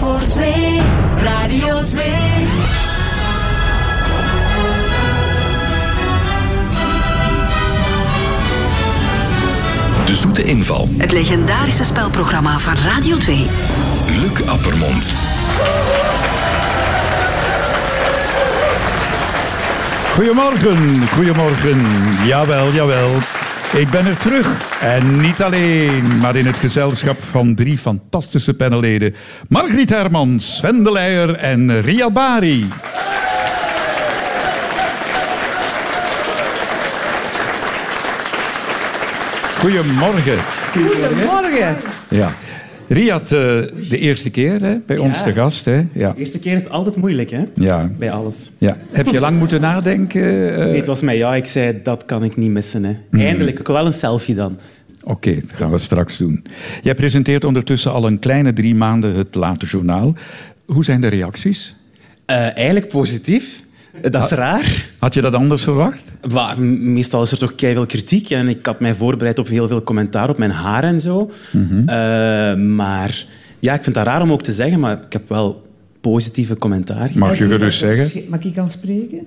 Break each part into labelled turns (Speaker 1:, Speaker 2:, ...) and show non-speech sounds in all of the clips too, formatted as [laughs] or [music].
Speaker 1: voor twee. Radio 2.
Speaker 2: De zoete inval.
Speaker 3: Het legendarische spelprogramma van Radio 2.
Speaker 2: Luc Appermond.
Speaker 4: Goedemorgen, goedemorgen. Jawel, jawel. Ik ben er terug. En niet alleen, maar in het gezelschap van drie fantastische panelleden. Margriet Herman, Sven de Leijer en Ria Bari. Goedemorgen.
Speaker 5: Goedemorgen.
Speaker 4: Ja. Riad, eh, de eerste keer hè, bij ons te gast. Hè? Ja.
Speaker 6: De eerste keer is altijd moeilijk, hè?
Speaker 4: Ja.
Speaker 6: Bij alles.
Speaker 4: Ja. Heb je lang moeten nadenken? eh?
Speaker 6: Nee, het was mij ja. Ik zei, dat kan ik niet missen, hè.
Speaker 4: Mhm.
Speaker 6: Eindelijk, ook wel een selfie dan.
Speaker 4: Oké, dat gaan we straks doen. Jij presenteert ondertussen al een kleine drie maanden het Late Journaal. Hoe zijn de reacties?
Speaker 6: Eh, eigenlijk positief. Eh, Dat is
Speaker 4: Ah.
Speaker 6: raar.
Speaker 4: Had je dat anders verwacht?
Speaker 6: Maar meestal is er toch veel kritiek. En ik had mij voorbereid op heel veel commentaar op mijn haar en zo.
Speaker 4: Mhm.
Speaker 6: Eh, maar ja, ik vind dat raar om ook te zeggen, maar ik heb wel positieve commentaar.
Speaker 4: Mag je gerust
Speaker 5: Dus
Speaker 4: zeggen.
Speaker 5: Eh,
Speaker 4: [laughs]
Speaker 5: Mag ik aan spreken?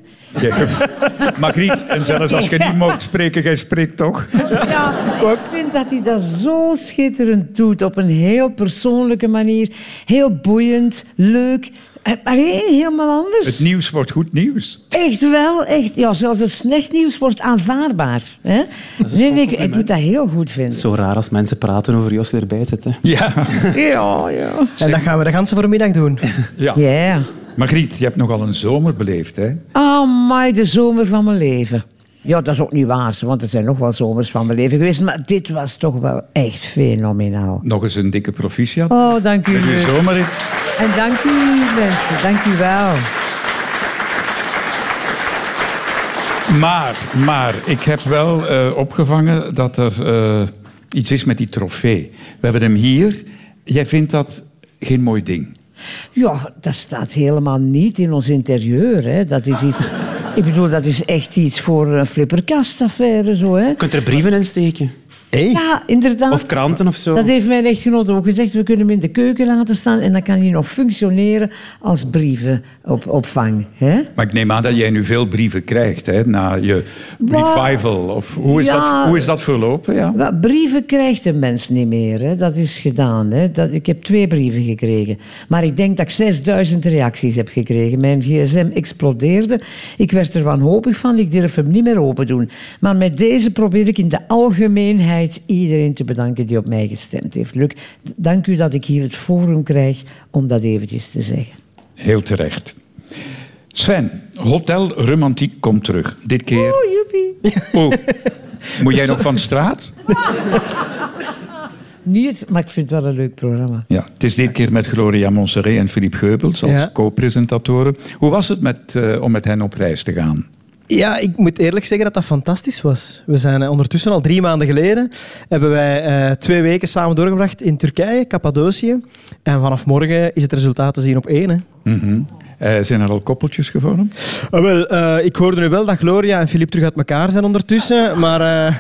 Speaker 4: Margriet, en zelfs als je niet mag spreken, jij spreekt toch?
Speaker 5: Ja, ik vind dat hij dat zo schitterend doet. Op een heel persoonlijke manier. Heel boeiend, leuk. Eh, Allee, helemaal anders.
Speaker 4: Het nieuws wordt goed nieuws.
Speaker 5: Echt wel, echt. Ja, zelfs het slecht nieuws wordt aanvaardbaar. Hè? Nee, nee, ik, ik doe dat heel goed, vind ik.
Speaker 6: Zo raar als mensen praten over je als je erbij zit, hè.
Speaker 4: Ja.
Speaker 5: Ja, ja.
Speaker 7: En dat gaan we de ganse voormiddag doen.
Speaker 4: ja.
Speaker 5: Ja.
Speaker 4: Margriet, je hebt nogal een zomer beleefd, hè?
Speaker 5: Oh, my, de zomer van mijn leven. Ja, dat is ook niet waar, want er zijn nog wel zomers van mijn leven geweest. Maar dit was toch wel echt fenomenaal.
Speaker 4: Nog eens een dikke proficiat.
Speaker 5: Oh, dank u.
Speaker 4: Met je
Speaker 5: Luc.
Speaker 4: zomer. in.
Speaker 5: En dank u, mensen. Dank u wel.
Speaker 4: Maar, maar, ik heb wel eh, opgevangen dat er eh, iets is met die trofee. We hebben hem hier. Jij vindt dat geen mooi ding.
Speaker 5: Ja, dat staat helemaal niet in ons interieur. Hè. Dat is iets... Ik bedoel, dat is echt iets voor een flipperkastaffaire, zo, hè.
Speaker 6: Je kunt er brieven in steken.
Speaker 5: Ja, inderdaad.
Speaker 6: Of kranten of zo.
Speaker 5: Dat heeft mijn echtgenoot ook gezegd. We kunnen hem in de keuken laten staan en dan kan hij nog functioneren als brievenopvang. Hè?
Speaker 4: Maar ik neem aan dat jij nu veel brieven krijgt hè, na je
Speaker 5: Wel,
Speaker 4: revival. Of hoe, is
Speaker 5: ja.
Speaker 4: dat, hoe is dat verlopen? Ja.
Speaker 5: Wel, Brieven krijgt een mens niet meer. Hè. Dat is gedaan. Hè. Dat, ik heb twee brieven gekregen. Maar ik denk dat ik 6000 reacties heb gekregen. Mijn gsm explodeerde. Ik werd er wanhopig van. Ik durf hem niet meer open doen. Maar met deze probeer ik in de algemeenheid iedereen te bedanken die op mij gestemd heeft. Luc, d- dank u dat ik hier het forum krijg om dat eventjes te zeggen.
Speaker 4: Heel terecht. Sven, Hotel Romantiek komt terug. Dit keer.
Speaker 5: Oh, joepie.
Speaker 4: Oeh,
Speaker 5: [laughs]
Speaker 4: moet jij nog van straat?
Speaker 5: Niet, maar ik vind het wel een leuk programma.
Speaker 4: Ja, het is dit keer met Gloria Monserrat en Philippe Geubels als
Speaker 7: Ja.
Speaker 4: co-presentatoren. Hoe was het met, eh, om met hen op reis te gaan?
Speaker 7: Ja, ik moet eerlijk zeggen dat dat fantastisch was. We zijn eh, ondertussen al drie maanden geleden hebben wij eh, twee weken samen doorgebracht in Turkije, Cappadocië. En vanaf morgen is het resultaat te zien op één. Hè.
Speaker 4: Mhm. Eh, zijn er al koppeltjes gevormd?
Speaker 7: Ah, wel, eh, ik hoorde nu wel dat Gloria en Filip terug uit elkaar zijn ondertussen. Maar eh,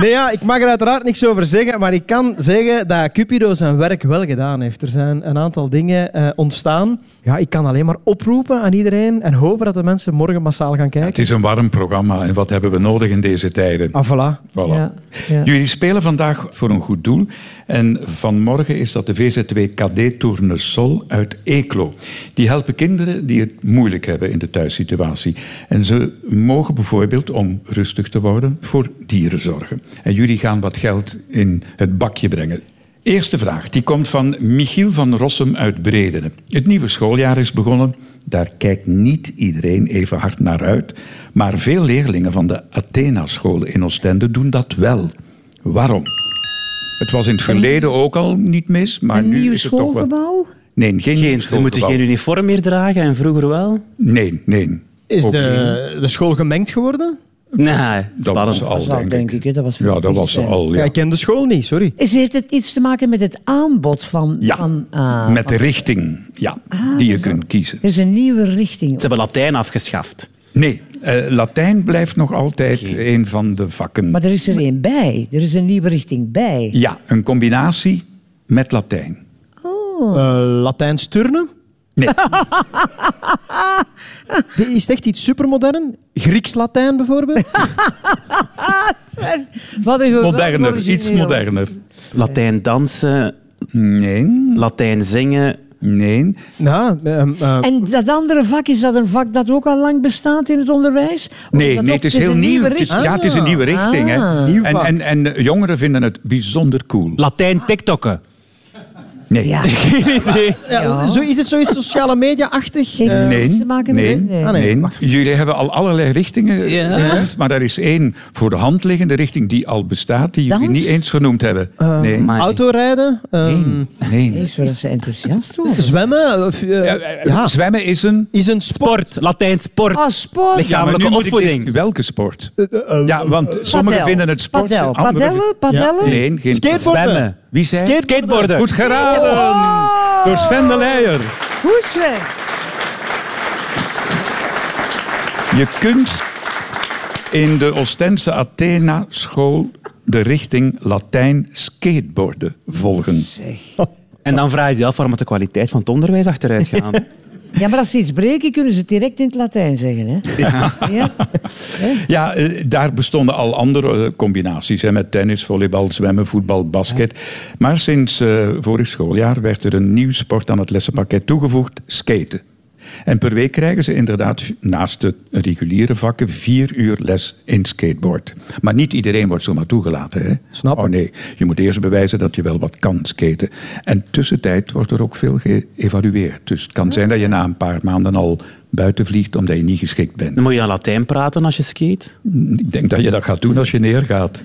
Speaker 7: nee, ja, ik mag er uiteraard niks over zeggen. Maar ik kan zeggen dat Cupido zijn werk wel gedaan heeft. Er zijn een aantal dingen eh, ontstaan. Ja, ik kan alleen maar oproepen aan iedereen en hopen dat de mensen morgen massaal gaan
Speaker 4: Het
Speaker 7: kijken.
Speaker 4: is een warm programma en wat hebben we nodig in deze tijden?
Speaker 7: Ah, voilà.
Speaker 4: Voilà.
Speaker 5: Ja, ja.
Speaker 4: Jullie spelen vandaag voor een goed doel. En vanmorgen is dat de VZW KD Tournesol uit Eeklo. Die helpen kinderen die het moeilijk hebben in de thuissituatie. En ze mogen bijvoorbeeld, om rustig te worden, voor dieren zorgen. En jullie gaan wat geld in het bakje brengen. Eerste vraag, die komt van Michiel van Rossum uit Bredene. Het nieuwe schooljaar is begonnen. Daar kijkt niet iedereen even hard naar uit. Maar veel leerlingen van de Athena-scholen in Oostende doen dat wel. Waarom? Het was in het verleden ook al niet mis, maar
Speaker 5: Een
Speaker 4: nu
Speaker 5: nieuw
Speaker 4: is het toch wel...
Speaker 5: schoolgebouw?
Speaker 4: Nee, geen, nieuw
Speaker 6: Geen, ze moeten
Speaker 4: schoolgebouw.
Speaker 6: geen uniform meer dragen en vroeger wel.
Speaker 4: Nee, nee.
Speaker 7: Is
Speaker 4: Ook geen-
Speaker 7: de, de school gemengd geworden?
Speaker 6: Nee,
Speaker 4: Dat
Speaker 6: spannend.
Speaker 4: was al,
Speaker 5: Dat
Speaker 4: denk,
Speaker 5: denk
Speaker 4: ik.
Speaker 5: ik, hè. dat was
Speaker 4: Ja, dat was
Speaker 5: verplicht, hè.
Speaker 4: al,
Speaker 7: Ja.
Speaker 4: ja.
Speaker 7: ik ken de school niet, sorry.
Speaker 5: Is, heeft het iets te maken met het aanbod van...
Speaker 4: Ja,
Speaker 5: van, dus ah,
Speaker 4: Met de richting, ja, die je kunt kiezen.
Speaker 5: Er is een nieuwe richting.
Speaker 6: Ze hebben Latijn afgeschaft.
Speaker 4: Nee, eh, Latijn blijft nog altijd een van de vakken.
Speaker 5: Maar er is er één bij. Er is een nieuwe richting bij.
Speaker 4: Ja, een combinatie met Latijn.
Speaker 5: Oh.
Speaker 7: eh, Latijns turnen.
Speaker 5: [laughs]
Speaker 4: Nee.
Speaker 7: Dit Is het echt iets supermodern? Grieks-Latijn
Speaker 5: [laughs]
Speaker 7: bijvoorbeeld?
Speaker 5: Wat een geweldig
Speaker 4: Moderner, iets
Speaker 5: origineel.
Speaker 4: moderner.
Speaker 6: Latijn dansen,
Speaker 4: Nee,
Speaker 6: Latijn zingen.
Speaker 5: Oh,
Speaker 4: nee.
Speaker 7: nou, ehm, eh,
Speaker 5: En dat andere vak, is dat een vak dat ook al lang bestaat in het onderwijs? Of
Speaker 4: Nee,
Speaker 5: dat
Speaker 4: nee
Speaker 5: ook-
Speaker 4: het is heel
Speaker 5: een
Speaker 4: nieuw.
Speaker 5: nieuwe
Speaker 4: Het is,
Speaker 5: richting?
Speaker 4: ja, het is een nieuwe richting.
Speaker 5: Ah.
Speaker 4: hè.
Speaker 7: Nieuw
Speaker 4: En,
Speaker 7: vak.
Speaker 4: en, en de jongeren vinden het bijzonder cool.
Speaker 8: Latijn TikTokken.
Speaker 4: Nee. [laughs]
Speaker 5: Ja.
Speaker 8: Geen idee.
Speaker 7: ja, zo, is het zoiets sociale media-achtig?
Speaker 5: Heeft
Speaker 7: Eh,
Speaker 5: het
Speaker 4: Nee,
Speaker 5: iets te maken met-
Speaker 4: nee,
Speaker 7: ah, nee.
Speaker 4: Nee, jullie hebben al allerlei richtingen eh,
Speaker 8: Ja.
Speaker 4: genoemd, maar er is één voor de hand liggende richting die al bestaat, die jullie
Speaker 5: Dans?
Speaker 4: niet eens vernoemd hebben. nee.
Speaker 8: Maar-
Speaker 7: Autorijden? ehm,
Speaker 4: nee.
Speaker 5: Nee, is wel eens enthousiast over.
Speaker 7: Zwemmen? Of, eh,
Speaker 4: Eh, eh,
Speaker 7: ja.
Speaker 4: Zwemmen is een...
Speaker 7: Is een sport?
Speaker 8: Sport, Latijn sport.
Speaker 5: Ah, sport.
Speaker 4: Ja, maar
Speaker 8: Lichamelijke
Speaker 4: nu moet ik
Speaker 8: opvoeding.
Speaker 4: dit- welke sport?
Speaker 7: Eh, eh,
Speaker 4: Ja, want sommigen
Speaker 5: Padel.
Speaker 4: vinden het sport.
Speaker 5: Padel.
Speaker 4: anderen
Speaker 5: Padellen? Padellen?
Speaker 4: vinden- Nee, geen...
Speaker 7: Skateboarden?
Speaker 8: Zwemmen.
Speaker 4: Wie zei? het?
Speaker 8: Skateboarden.
Speaker 4: Goed geraden!
Speaker 5: Oh,
Speaker 4: Door Sven de Leijer.
Speaker 5: Goed, Sven.
Speaker 4: Je kunt in de Oostense Athena school de richting Latijn skateboarden volgen.
Speaker 6: En dan vraag je je af waarom het de kwaliteit van het onderwijs achteruit gaat.
Speaker 5: Ja, maar als ze iets breken, kunnen ze het direct in het Latijn zeggen. Hè? Ja.
Speaker 4: Ja, eh, daar bestonden al andere eh, combinaties. Hè, met tennis, volleybal, zwemmen, voetbal, basket. Maar sinds eh, vorig schooljaar werd er een nieuw sport aan het lessenpakket toegevoegd. Skaten. En per week krijgen ze inderdaad v- naast de reguliere vakken vier uur les in skateboard. Maar niet iedereen wordt zomaar toegelaten. Hè?
Speaker 7: Snap
Speaker 4: Oh
Speaker 7: ik.
Speaker 4: nee, je moet eerst bewijzen dat je wel wat kan skaten. En tussentijd wordt er ook veel geëvalueerd. Dus het kan zijn dat je na een paar maanden al buiten vliegt omdat je niet geschikt bent.
Speaker 6: [laughs] Dan moet je dan Latijn praten als je skate.
Speaker 4: Ik denk dat je dat gaat doen als je neergaat.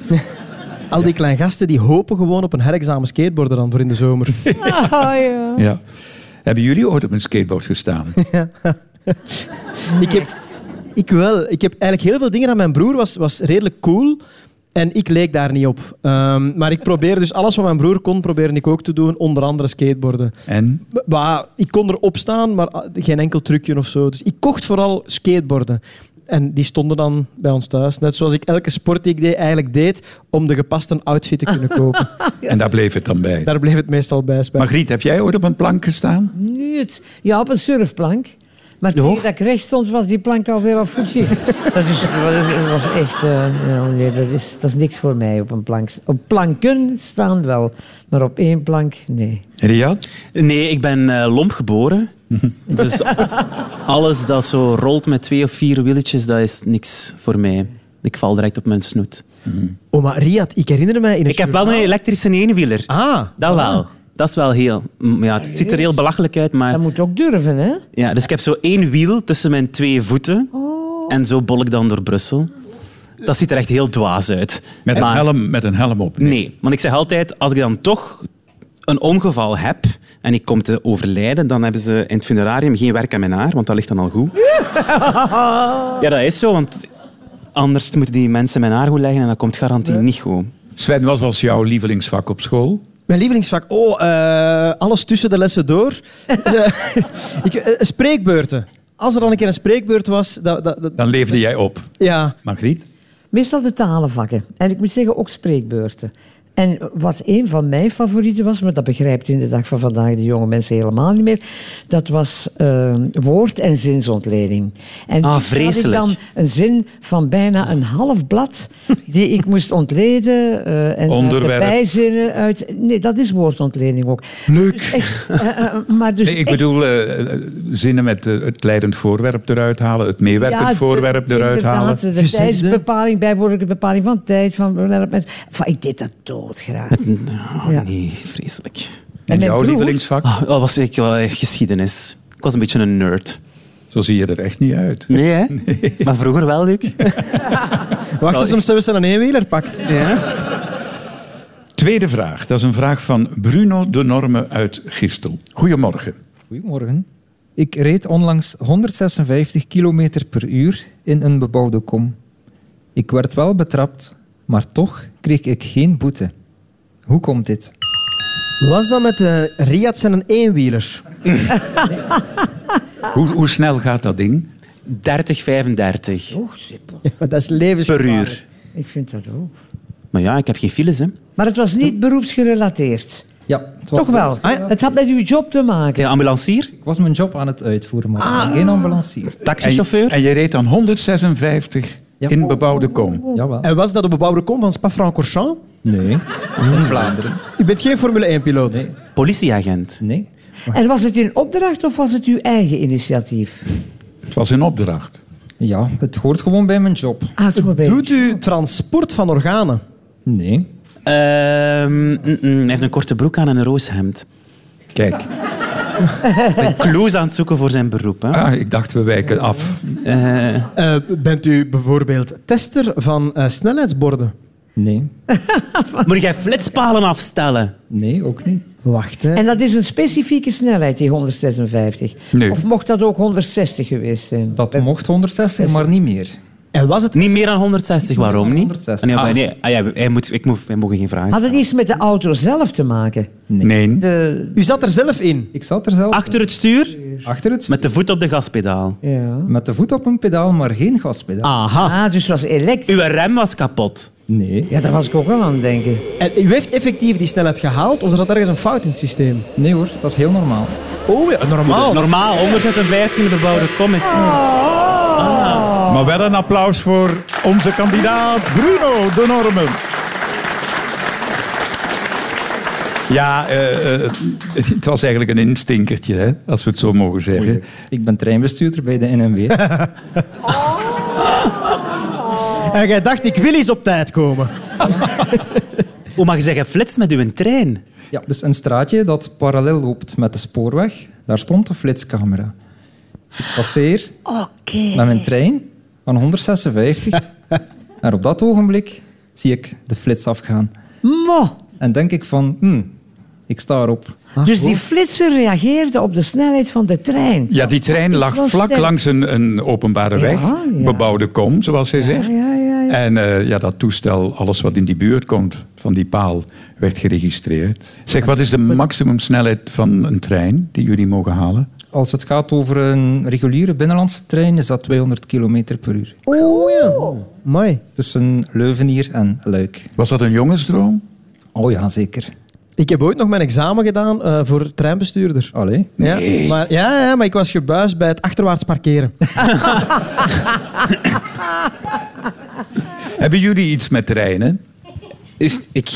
Speaker 7: Al die kleine gasten die hopen gewoon op een herexamen skateboarden dan voor in de zomer.
Speaker 5: Ah,
Speaker 4: Ja. Hebben jullie ooit op een skateboard [laughs] gestaan?
Speaker 7: ik, heb, ik wel. Ik heb eigenlijk heel veel dingen aan mijn broer. Was, was redelijk cool. En ik leek daar niet op. Ehm, maar ik probeerde dus alles wat mijn broer kon, probeerde ik ook te doen. Onder andere skateboarden.
Speaker 4: En?
Speaker 7: B- Maar ik kon erop staan, maar ah, geen enkel trucje of zo. Dus ik kocht vooral skateboarden. En die stonden dan bij ons thuis. Net zoals ik elke sport die ik deed eigenlijk deed om de gepaste outfit te kunnen kopen.
Speaker 4: En daar bleef het dan bij.
Speaker 7: Daar bleef het meestal bij. spijt me.
Speaker 4: Maar Griet, heb jij ooit op een plank gestaan?
Speaker 5: Nu het, ja, op een surfplank. Maar tegen dat ik recht stond, was die plank alweer op voetje. [laughs] dat, is, dat was echt... eh, ja, nee, dat is, dat is niks voor mij op een plank. Op planken staan wel, maar op één plank, nee.
Speaker 4: Riad?
Speaker 6: Nee, ik ben eh, lomp [laughs] geboren. dus alles dat zo rolt met twee of vier wieltjes, dat is niks voor mij. Ik val direct op mijn snoet.
Speaker 7: Oh, maar Riad, ik herinner mij in het
Speaker 6: Ik heb wel een
Speaker 7: journaal-
Speaker 6: elektrische eenwieler.
Speaker 7: Ah,
Speaker 6: Dat wel. Dat is wel heel... mm, Ja, het ziet er heel belachelijk uit, maar...
Speaker 5: Dat moet ook durven, hè?
Speaker 6: Ja, dus ik heb zo één wiel tussen mijn twee voeten. En zo bol ik dan door Brussel. Dat ziet er echt heel dwaas uit.
Speaker 4: Met een
Speaker 6: Maar-
Speaker 4: helm, met een helm op.
Speaker 6: Nee, want ik zeg altijd, als ik dan toch een ongeval heb en ik kom te overlijden, dan hebben ze in het funerarium geen werk aan mijn haar, want dat ligt dan al goed. Ja, dat is zo, want anders moeten die mensen mijn haar goed leggen en dat komt garantie niet goed.
Speaker 4: Sven, wat was jouw lievelingsvak op school?
Speaker 7: mijn lievelingsvak. Oh, eh, alles tussen de lessen door. Eh, [laughs] ik, eh, spreekbeurten. Als er dan een keer een spreekbeurt was, dat, dat, dat-
Speaker 4: Dan leefde jij op.
Speaker 7: ja.
Speaker 4: Maar Griet?
Speaker 6: Dus
Speaker 5: Meestal de talenvakken. En ik moet zeggen, ook spreekbeurten. En wat een van mijn favorieten was, maar dat begrijpt in de dag van vandaag de jonge mensen helemaal niet meer, dat was eh, woord- en zinsontleding. En
Speaker 6: Ah,
Speaker 5: dus had
Speaker 6: vreselijk.
Speaker 5: ik dan een zin van bijna een
Speaker 4: [laughs]
Speaker 5: half blad die ik moest ontleden eh en uit de
Speaker 4: Onderwerp.
Speaker 5: bijzinnen uit... Nee, dat is woordontleding ook.
Speaker 7: Leuk.
Speaker 5: Dus echt, eh, eh, maar dus
Speaker 4: Nee, ik
Speaker 5: echt-
Speaker 4: bedoel, eh, eh, zinnen met eh, het leidend voorwerp eruit halen, het meewerkend
Speaker 5: het-
Speaker 4: voorwerp eruit
Speaker 5: inderdaad,
Speaker 4: halen.
Speaker 5: De
Speaker 7: Gezegde.
Speaker 5: tijdsbepaling, bijwoordelijke bepaling van tijd, van mensen. Enfin, ik deed dat doodgraag.
Speaker 6: Oh,
Speaker 5: Ja.
Speaker 6: Nee, vreselijk.
Speaker 4: En
Speaker 5: mijn
Speaker 4: jouw
Speaker 5: broer-
Speaker 4: lievelingsvak?
Speaker 6: Oh, dat was ik wel echt geschiedenis. Ik was een beetje een nerd.
Speaker 4: Zo zie je er echt niet uit.
Speaker 6: Nee, hè? Maar vroeger wel, [laughs] Luc.
Speaker 7: Wacht eens om ze een eenwieler pakt.
Speaker 6: Ja.
Speaker 4: Tweede vraag. Dat is een vraag van Bruno de Norme uit Gistel. Goedemorgen.
Speaker 9: Goedemorgen. Ik reed onlangs 156 km per uur in een bebouwde kom. Ik werd wel betrapt, maar toch kreeg ik geen boete. Hoe komt dit?
Speaker 7: Was dat met eh, Riad zijn een eenwieler?
Speaker 4: Hoe, hoe snel gaat dat ding?
Speaker 6: 30, 35
Speaker 7: Ja, dat is levens.
Speaker 6: per uur.
Speaker 5: Ik vind dat ook.
Speaker 6: Maar ja, ik heb geen files, hè.
Speaker 5: Maar het was niet beroepsgerelateerd.
Speaker 9: Ja, het was,
Speaker 5: Toch wel.
Speaker 7: Ah, ja.
Speaker 5: Het had met uw job te maken.
Speaker 6: Zijn je ambulancier?
Speaker 9: Ik was mijn job aan het uitvoeren, maar ik ben geen ambulancier.
Speaker 6: Taxichauffeur?
Speaker 4: En, en je reed dan 156
Speaker 9: Ja.
Speaker 4: in bebouwde kom.
Speaker 9: Jawel.
Speaker 7: En was dat op bebouwde kom van Spa-Francorchamps?
Speaker 9: Nee. In Vlaanderen.
Speaker 7: Je bent geen Formule 1-piloot.
Speaker 9: Nee.
Speaker 6: Politieagent?
Speaker 9: Nee.
Speaker 5: En was het in opdracht of was het uw eigen initiatief?
Speaker 4: Het was een opdracht.
Speaker 9: Ja, het hoort gewoon bij mijn job.
Speaker 5: Ah, het hoort bij-
Speaker 7: Doet u transport van organen?
Speaker 9: Nee.
Speaker 6: Ehm, mm, mm, hij heeft een korte broek aan en een rooshemd. [laughs]
Speaker 4: Kijk,
Speaker 6: Clues aan het zoeken voor zijn beroep. Hè?
Speaker 4: ah, ik dacht we wijken af.
Speaker 6: Eh,
Speaker 7: Eh, bent u bijvoorbeeld tester van eh, snelheidsborden?
Speaker 9: Nee.
Speaker 6: moet jij flitspalen afstellen?
Speaker 9: Nee, ook niet.
Speaker 7: Wacht, hè.
Speaker 5: En dat is een specifieke snelheid, die 156.
Speaker 4: Nee.
Speaker 5: Of mocht dat ook 160 geweest zijn? Eh,
Speaker 9: Dat mocht 160, maar niet meer.
Speaker 7: En was het...
Speaker 6: Niet meer dan 160, waarom niet?
Speaker 9: 160.
Speaker 6: Nee, maar nee, ah, ja, hij moet, ik moet, wij mogen geen vragen
Speaker 5: Had het
Speaker 6: stellen.
Speaker 5: iets met de auto zelf te maken?
Speaker 4: Nee,
Speaker 5: De,
Speaker 7: U zat er zelf in.
Speaker 9: Ik zat er zelf
Speaker 6: Achter het stuur,
Speaker 9: achter het
Speaker 6: Ah. met de voet op de gaspedaal.
Speaker 5: ja.
Speaker 9: Met de voet op een pedaal, maar geen gaspedaal.
Speaker 7: Aha.
Speaker 5: Ah, dus het was elektrisch.
Speaker 6: Uw rem was kapot.
Speaker 9: Nee.
Speaker 5: Ja, daar was ik ook wel aan het denken.
Speaker 7: En u heeft effectief die snelheid gehaald of er zat ergens een fout in het systeem?
Speaker 9: Nee hoor, dat is heel normaal.
Speaker 7: Oh, ja, normaal.
Speaker 6: Normaal, 156 in de bebouwde kom is...
Speaker 4: maar wel een applaus voor onze kandidaat Bruno de Normen. Ja, eh, eh, het was eigenlijk een instinkertje, hè, als we het zo mogen zeggen.
Speaker 9: Ik ben treinbestuurder bij de NMW.
Speaker 7: En jij dacht, ik wil eens op tijd komen.
Speaker 6: Hoe mag je zeggen, flits met uw trein?
Speaker 9: Ja, dus een straatje dat parallel loopt met de spoorweg, daar stond de flitscamera. Ik passeer
Speaker 1: Oké.
Speaker 9: met mijn trein van 156 en op dat ogenblik zie ik de flits afgaan.
Speaker 5: Mo.
Speaker 9: En denk ik van, hmm, ik sta erop.
Speaker 5: Dus die flitser reageerde op de snelheid van de trein.
Speaker 4: Ja, die trein lag
Speaker 5: was
Speaker 4: vlak
Speaker 5: sterk.
Speaker 4: langs een, een openbare weg,
Speaker 5: ja.
Speaker 4: bebouwde kom, zoals hij zegt.
Speaker 5: ja, ja, ja.
Speaker 4: En eh, ja, dat toestel, alles wat in die buurt komt van die paal, werd geregistreerd. Zeg, wat is de maximumsnelheid van een trein die jullie mogen halen?
Speaker 9: Als het gaat over een reguliere binnenlandse trein, is dat 200 km per uur.
Speaker 7: Oh ja. Mooi.
Speaker 9: Tussen Leuvenier en Luik.
Speaker 4: Was dat een jongensdroom?
Speaker 9: Oh ja, zeker.
Speaker 7: Ik heb ooit nog mijn examen gedaan eh, voor treinbestuurder.
Speaker 9: Allee.
Speaker 7: Ja, maar, ja, ja, maar ik was gebuist bij het achterwaarts parkeren.
Speaker 4: Hebben jullie iets met treinen?
Speaker 6: Is, het- ik,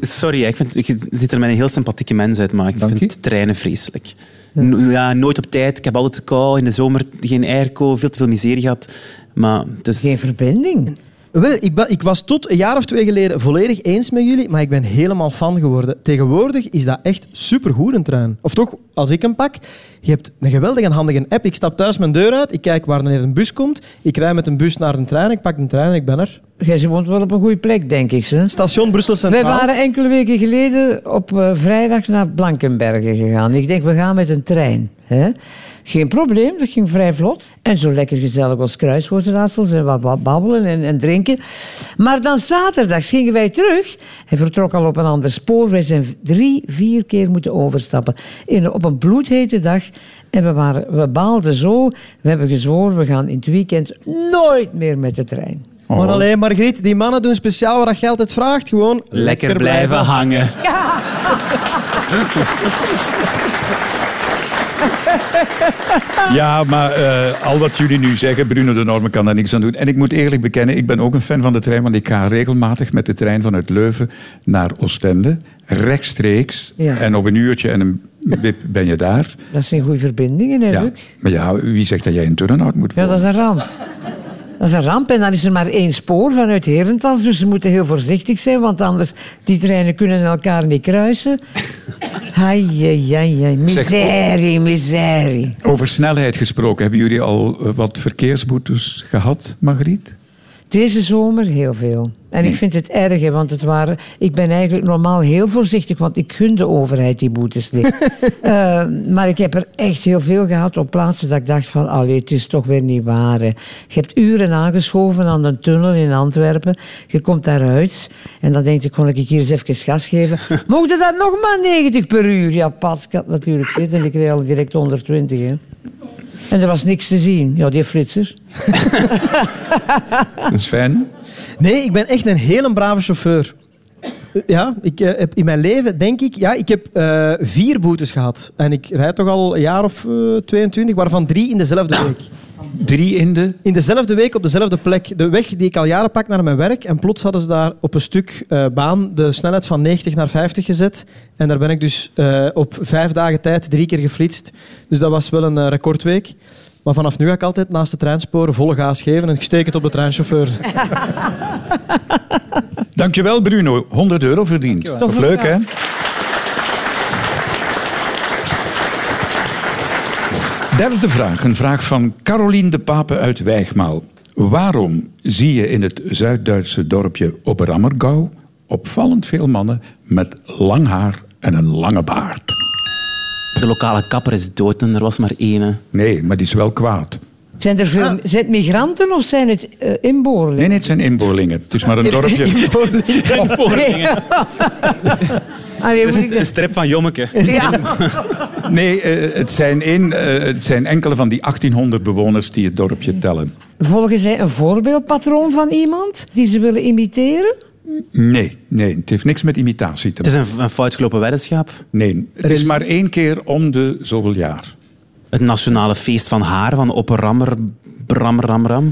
Speaker 6: sorry, ik, vind, ik ziet er mij een heel sympathieke mens uit, maar ik
Speaker 9: Dank
Speaker 6: vind
Speaker 9: u.
Speaker 6: treinen vreselijk. No- ja, nooit op tijd, ik heb altijd kou, in de zomer geen airco, veel te veel miserie gehad. Maar dus,
Speaker 5: Geen verbinding.
Speaker 7: Wel, ik, ben- ik was tot een jaar of twee geleden volledig eens met jullie, maar ik ben helemaal fan geworden. Tegenwoordig is dat echt supergoed, een trein. Of toch, als ik hem pak, je hebt een geweldig en handige app. Ik stap thuis mijn deur uit, ik kijk waar wanneer een bus komt, ik rij met een bus naar de trein, ik pak de trein en ik ben er.
Speaker 5: Jij woont wel op een goede plek, denk ik. Hè?
Speaker 7: Station Brussel
Speaker 5: Wij
Speaker 7: Centraal.
Speaker 5: waren enkele weken geleden op eh, vrijdag naar Blankenbergen gegaan. Ik denk, we gaan met een trein. Hè? Geen probleem, dat ging vrij vlot. En zo lekker gezellig als kruiswoordraadsels en wat wat babbelen en, en drinken. Maar dan zaterdags gingen wij terug. Hij vertrok al op een ander spoor. Wij zijn drie, vier keer moeten overstappen. In, op een bloedhete dag. En we, waren, we baalden zo. We hebben gezworen, we gaan in het weekend nooit meer met de trein.
Speaker 4: Oh.
Speaker 7: Maar alleen, Margriet, die mannen doen speciaal waar je altijd vraagt. Gewoon
Speaker 6: lekker blijven hangen.
Speaker 4: Ja, maar eh, al wat jullie nu zeggen, Bruno de Normen kan daar niks aan doen. En ik moet eerlijk bekennen, ik ben ook een fan van de trein, want ik ga regelmatig met de trein vanuit Leuven naar Oostende, rechtstreeks.
Speaker 5: Ja.
Speaker 4: En op een uurtje en een wip ben je daar.
Speaker 5: Dat zijn goede verbindingen, hè,
Speaker 4: Ja.
Speaker 5: Luc?
Speaker 4: Maar ja, wie zegt dat jij in Turnhout moet
Speaker 5: Ja,
Speaker 4: wonen?
Speaker 5: dat is een ramp. Dat is een ramp en dan is er maar één spoor vanuit Herentals. Dus ze moeten heel voorzichtig zijn, want anders die treinen kunnen elkaar niet
Speaker 4: [laughs]
Speaker 5: kruisen. Hai, ai, ai, ai.
Speaker 4: Zeg-
Speaker 5: Miserie, miserie.
Speaker 4: Over snelheid gesproken, hebben jullie al eh, wat verkeersboetes gehad, Margriet?
Speaker 5: Deze zomer heel veel. En ik vind het erg, hè, want het waren, ik ben eigenlijk normaal heel voorzichtig, want ik gun de overheid die boetes niet. Eh, maar ik heb er echt heel veel gehad op plaatsen dat ik dacht van, allee, het is toch weer niet waar. hè. Je hebt uren aangeschoven aan een tunnel in Antwerpen. Je komt daaruit en dan denk ik, kon ik hier eens even gas geven? Mocht dat nog maar 90 per uur? Ja, pas, ik had natuurlijk zit en ik kreeg al direct 120. Hè. En er was niks te zien. Ja, die flitser.
Speaker 4: Sven?
Speaker 7: Nee, ik ben echt een hele brave chauffeur. Ja, ik eh, heb in mijn leven, denk ik, ja, ik heb eh, vier boetes gehad. En ik rijd toch al een jaar of eh, 22, waarvan drie in dezelfde week.
Speaker 4: Drie in de...
Speaker 7: In dezelfde week op dezelfde plek. De weg die ik al jaren pak naar mijn werk. En plots hadden ze daar op een stuk eh, baan de snelheid van 90 naar 50 gezet. En daar ben ik dus eh, op vijf dagen tijd drie keer geflitst. Dus dat was wel een eh, recordweek. Maar vanaf nu ga ik altijd naast de treinsporen volle gaas geven. En ik steek het op de treinchauffeur.
Speaker 4: Dankjewel, Bruno. 100 euro verdiend.
Speaker 9: Dankjewel.
Speaker 4: Toch leuk, hè? Derde vraag. Een vraag van Carolien de Pape uit Wijgmaal. Waarom zie je in het Zuid-Duitse dorpje Oberammergau opvallend veel mannen met lang haar en een lange baard?
Speaker 6: De lokale kapper is dood en er was maar ene.
Speaker 4: Nee, maar die is wel kwaad.
Speaker 5: Zijn er veel, zijn het migranten of zijn het eh, inboorlingen?
Speaker 4: Nee, nee, het zijn inboorlingen. Het is maar een dorpje.
Speaker 10: [laughs]
Speaker 5: Nee. [laughs] Allee,
Speaker 6: Het
Speaker 4: Dus
Speaker 5: moet ik
Speaker 6: is een
Speaker 5: dat-
Speaker 6: strip van Jommeke.
Speaker 5: Ja.
Speaker 4: Nee, eh, het, zijn in, eh, het zijn enkele van die 1800 bewoners die het dorpje tellen.
Speaker 5: Volgen zij een voorbeeldpatroon van iemand die ze willen imiteren?
Speaker 4: Nee, nee, het heeft niks met imitatie te
Speaker 6: Het is een, een fout gelopen weddenschap.
Speaker 4: Nee, het is maar één keer om de zoveel jaar.
Speaker 6: Het nationale feest van haar, van Opperammer, Bram, Ram, Ram.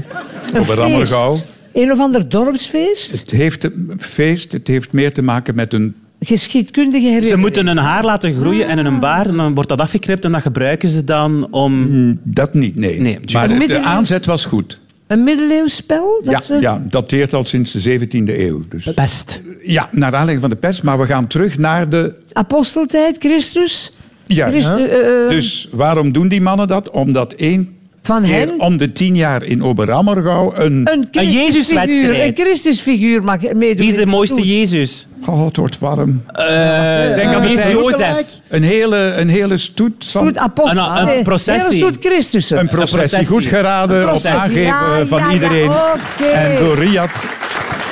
Speaker 5: Een
Speaker 4: Op een Rammergouw.
Speaker 5: feest. Een of ander dorpsfeest?
Speaker 4: Het heeft een feest, het heeft meer te maken met een...
Speaker 5: Geschiedkundige herinnering.
Speaker 6: Ze moeten hun haar laten groeien en in een baard en dan wordt dat afgeknipt en dat gebruiken ze dan om...
Speaker 4: Dat niet, nee.
Speaker 6: Nee,
Speaker 4: maar de- de
Speaker 5: middeleeuws.
Speaker 4: aanzet was goed.
Speaker 5: Een middeleeuwsspel? Dat
Speaker 4: Ja,
Speaker 5: ze-
Speaker 4: ja, dateert al sinds de 17e eeuw. Dus.
Speaker 6: Pest.
Speaker 4: Ja, naar aanleiding van de pest, maar we gaan terug naar de...
Speaker 5: Aposteltijd, Christus?
Speaker 4: Ja,
Speaker 5: Christus, eh, eh,
Speaker 4: dus waarom doen die mannen dat? Omdat één
Speaker 5: van
Speaker 4: keer
Speaker 5: hem
Speaker 4: om de tien jaar in Oberammergau een...
Speaker 5: een Christusfiguur.
Speaker 6: Jezuswedstrijd.
Speaker 5: Een Christusfiguur mag meedoen.
Speaker 6: Wie is
Speaker 5: in
Speaker 6: de mooiste
Speaker 5: stoet.
Speaker 6: Jezus?
Speaker 4: Oh, het wordt warm.
Speaker 6: Eh
Speaker 4: denk aan
Speaker 6: wie is
Speaker 4: Martijn.
Speaker 6: Jozef?
Speaker 4: Een hele, een hele stoet van...
Speaker 5: Goed, apostel.
Speaker 6: Een- een
Speaker 5: Nee,
Speaker 6: processie.
Speaker 5: Een soort Christussen.
Speaker 4: Een processie,
Speaker 6: processie.
Speaker 4: goed geraden, op
Speaker 6: processie.
Speaker 4: aangeven
Speaker 5: Ja,
Speaker 4: eh, van
Speaker 5: ja, ja,
Speaker 4: iedereen.
Speaker 5: oké.
Speaker 4: En door Riyad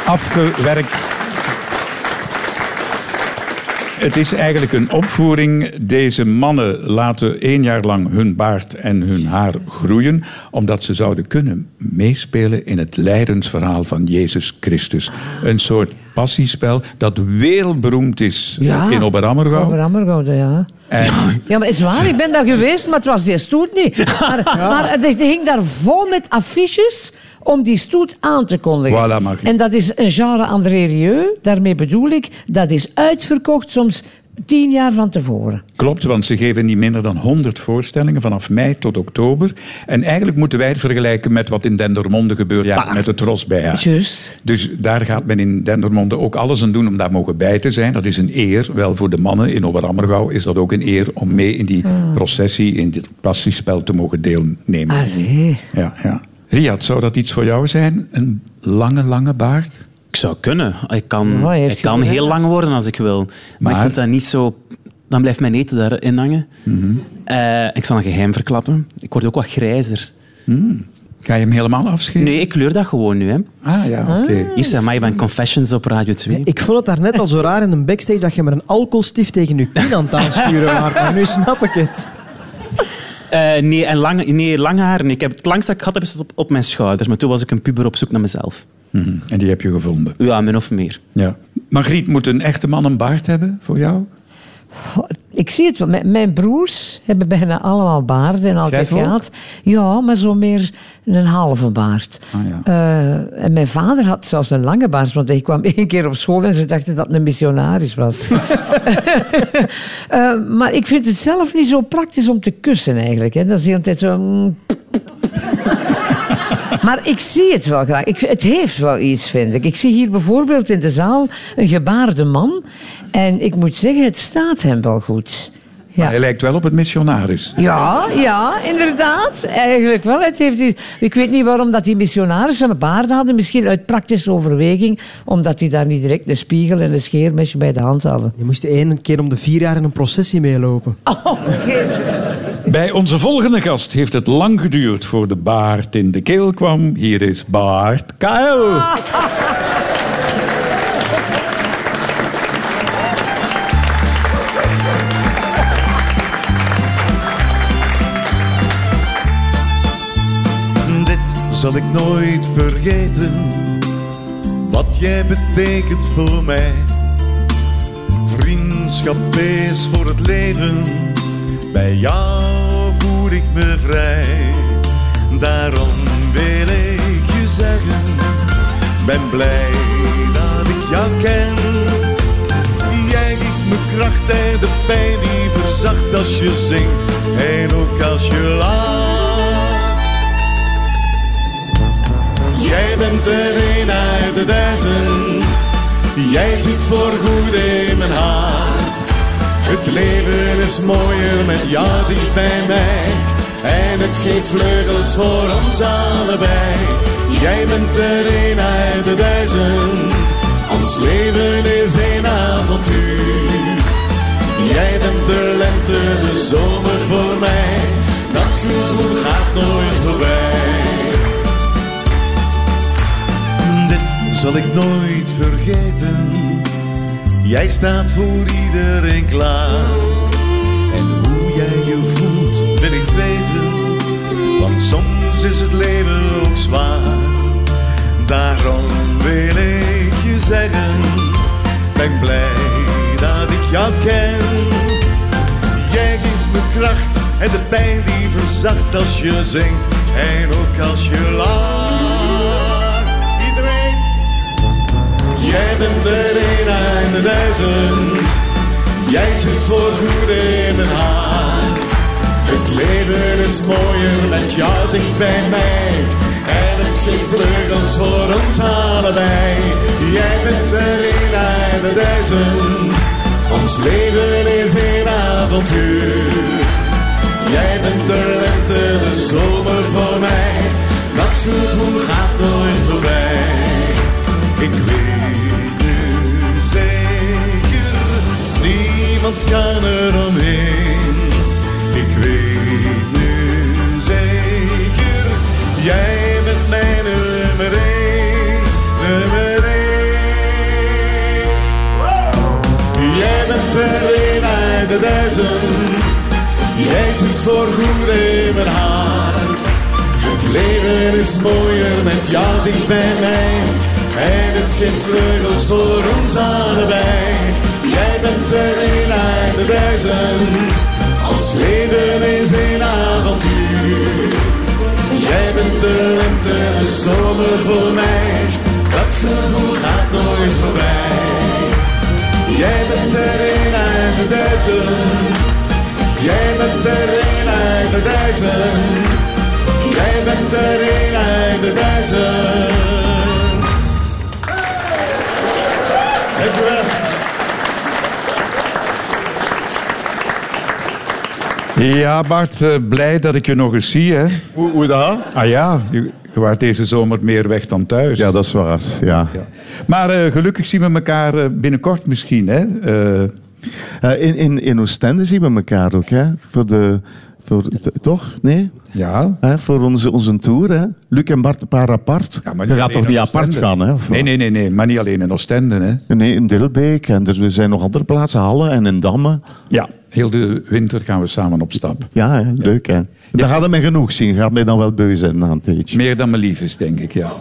Speaker 4: afgewerkt. Het is eigenlijk een opvoering. Deze mannen laten één jaar lang hun baard en hun haar groeien, omdat ze zouden kunnen meespelen in het lijdensverhaal van Jezus Christus. Een soort passiespel dat wereldberoemd is
Speaker 5: Ja.
Speaker 4: in Oberammergau.
Speaker 5: Over Ammergoud, ja.
Speaker 4: En
Speaker 5: Ja, maar is waar, ik ben daar geweest, maar het was die stoet
Speaker 4: [laughs]
Speaker 5: niet. Maar, maar het het hing daar vol met affiches om die stoet aan te kondigen.
Speaker 4: Voilà, Magie.
Speaker 5: En dat is een genre André Rieu, daarmee bedoel ik, dat is uitverkocht soms tien jaar van tevoren.
Speaker 4: Klopt, want ze geven niet minder dan 100 voorstellingen vanaf mei tot oktober. En eigenlijk moeten wij het vergelijken met wat in Dendermonde gebeurt met het rosbijjaar.
Speaker 5: Juist.
Speaker 4: Dus daar gaat men in Dendermonde ook alles aan doen om daar mogen bij te zijn. Dat is een eer. Wel voor de mannen in Oberammergouw is dat ook een eer om mee in die processie, in dit passiespel te mogen deelnemen.
Speaker 5: Allee.
Speaker 4: Ja, ja. Riyad, zou dat iets voor jou zijn? Een lange, lange baard?
Speaker 6: Ik zou kunnen. Ik kan,
Speaker 5: Mooi, Oh, heeft
Speaker 6: ik
Speaker 5: je
Speaker 6: kan
Speaker 5: gedaan.
Speaker 6: heel lang worden als ik wil. Maar, ik
Speaker 4: Maar?
Speaker 6: vind dat niet zo... Dan blijft mijn eten daarin hangen. Eh, ik zal een geheim verklappen. Ik word ook wat grijzer.
Speaker 4: Ga je hem helemaal afscheren?
Speaker 6: Nee, ik kleur dat gewoon nu. Hè.
Speaker 4: Ah ja, oké.
Speaker 6: Hier zijn mij bij Confessions op Radio 2.
Speaker 7: Ik vond het daarnet al zo raar in een backstage dat je met een alcoholstift tegen je kin aan het aansturen
Speaker 10: [laughs]
Speaker 7: was. Maar nu snap ik het.
Speaker 6: Eh, nee, en lang, nee, lang haar. Nee, ik heb het langst dat ik gehad heb, is het op, op mijn schouders. Maar toen was ik een puber op zoek naar mezelf.
Speaker 4: Mhm. En die heb je gevonden.
Speaker 6: Ja, min of meer.
Speaker 4: Ja. Margriet, moet een echte man een baard hebben voor jou?
Speaker 5: Ik zie het, wel. mijn, mijn broers hebben bijna allemaal baarden en altijd
Speaker 4: ook?
Speaker 5: gehad. Ja, maar zo meer een halve baard.
Speaker 4: Ah, ja.
Speaker 5: Eh, en mijn vader had zelfs een lange baard, want hij kwam [laughs] één keer op school en ze dachten dat het een missionaris was. [laughs] Eh, maar ik vind het zelf niet zo praktisch om te kussen eigenlijk. Hè. Dat is de hele tijd zo... mm, [laughs] maar ik zie het wel graag. Ik, het heeft wel iets, vind ik. Ik zie hier bijvoorbeeld in de zaal een gebaarde man. En ik moet zeggen, het staat hem wel goed. Ja.
Speaker 4: Hij lijkt wel op het missionaris.
Speaker 5: Ja, ja, inderdaad. Eigenlijk wel. Het heeft iets- ik weet niet waarom dat die missionarissen een baard hadden. Misschien uit praktische overweging, omdat die daar niet direct een spiegel en een scheermesje bij de hand hadden.
Speaker 7: Je moest één keer om de vier jaar in een processie meelopen.
Speaker 5: [laughs]
Speaker 4: Bij onze volgende gast heeft het lang geduurd voor de baard in de keel kwam. Hier is Baard Kael.
Speaker 10: Dit zal ik nooit vergeten, wat jij betekent voor mij. landschap is voor het leven. Bij jou voel ik me vrij. Daarom wil ik je zeggen, ben blij dat ik jou ken. Jij geeft me kracht en de pijn die verzacht als je zingt en ook als je lacht. Jij bent er een uit de duizend. Jij zit voorgoed in mijn hart. Het leven is mooier met jou dicht bij mij. En het geeft vleugels voor ons allebei. Jij bent er een uit de duizend. Ons leven is een avontuur. Jij bent de lente, de zomer voor mij. Dat gevoel gaat nooit voorbij. Dit zal ik nooit vergeten. Jij staat voor iedereen klaar. En hoe jij je voelt wil ik weten. Want soms is het leven ook zwaar. Daarom wil ik je zeggen. Ben blij dat ik jou ken. Jij geeft me kracht en de pijn die verzacht als je zingt en ook als je lacht. Iedereen, jij bent er een uit de duizend. Jij zit voor goed in mijn hart. Het leven is mooier met jou dicht bij mij. En het geeft vleugels voor ons allebei. Jij bent er een uit de duizend. Ons leven is een avontuur. Jij bent de lente, de zomer voor mij. Dat gevoel gaat nooit voorbij. Ik weet nu zeker, niemand kan er omheen. Ik weet nu zeker, jij bent mijn nummer één, nummer één. Jij bent er een uit de duizend. Jij zit voor goed in mijn hart. Het leven is mooier met jou dicht bij mij. En het geeft vleugels voor ons allebei. Jij bent er een uit de duizend. Ons leven is een avontuur. Jij bent de lente, de zomer voor mij. Dat gevoel gaat nooit voorbij. Jij bent er een uit de duizend. Jij bent er een uit de duizend. Jij bent er een uit de duizend. Dankjewel.
Speaker 4: Ja, Bart, eh, blij dat ik je nog eens zie. Hè?
Speaker 10: Hoe, hoe dat?
Speaker 4: Ah ja, je, je waart deze zomer meer weg dan thuis.
Speaker 10: Ja, dat is waar. Ja.
Speaker 4: Maar eh, gelukkig zien we elkaar eh, binnenkort misschien. Hè? Eh,
Speaker 10: Eh, in, in, in Oostende zien we elkaar ook, hè? Voor de, voor, t- toch? Nee?
Speaker 4: ja.
Speaker 10: Hè, voor onze, onze tour, hè? Luc en Bart een paar apart.
Speaker 4: Ja, maar
Speaker 10: je gaat
Speaker 4: alleen
Speaker 10: toch niet
Speaker 4: in
Speaker 10: apart
Speaker 4: Oostende?
Speaker 10: gaan, hè? Of
Speaker 4: Nee,
Speaker 10: wat?
Speaker 4: nee, nee, nee, maar niet alleen in Oostende. Hè?
Speaker 10: Nee, in Dilbeek. En er zijn nog andere plaatsen, Halle en in Damme.
Speaker 4: Ja. Heel de winter gaan we samen op stap.
Speaker 10: Ja, hè, leuk, hè? Daar gaat het mij genoeg zien. Gaat mij dan wel beu zijn na een tijdje.
Speaker 4: Meer dan me lief is, denk ik, ja.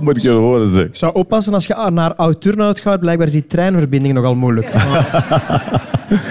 Speaker 10: Moet ik je horen, zeg.
Speaker 7: Ik zou oppassen als je naar Oud-Turnhout gaat. Blijkbaar is die treinverbinding nogal moeilijk.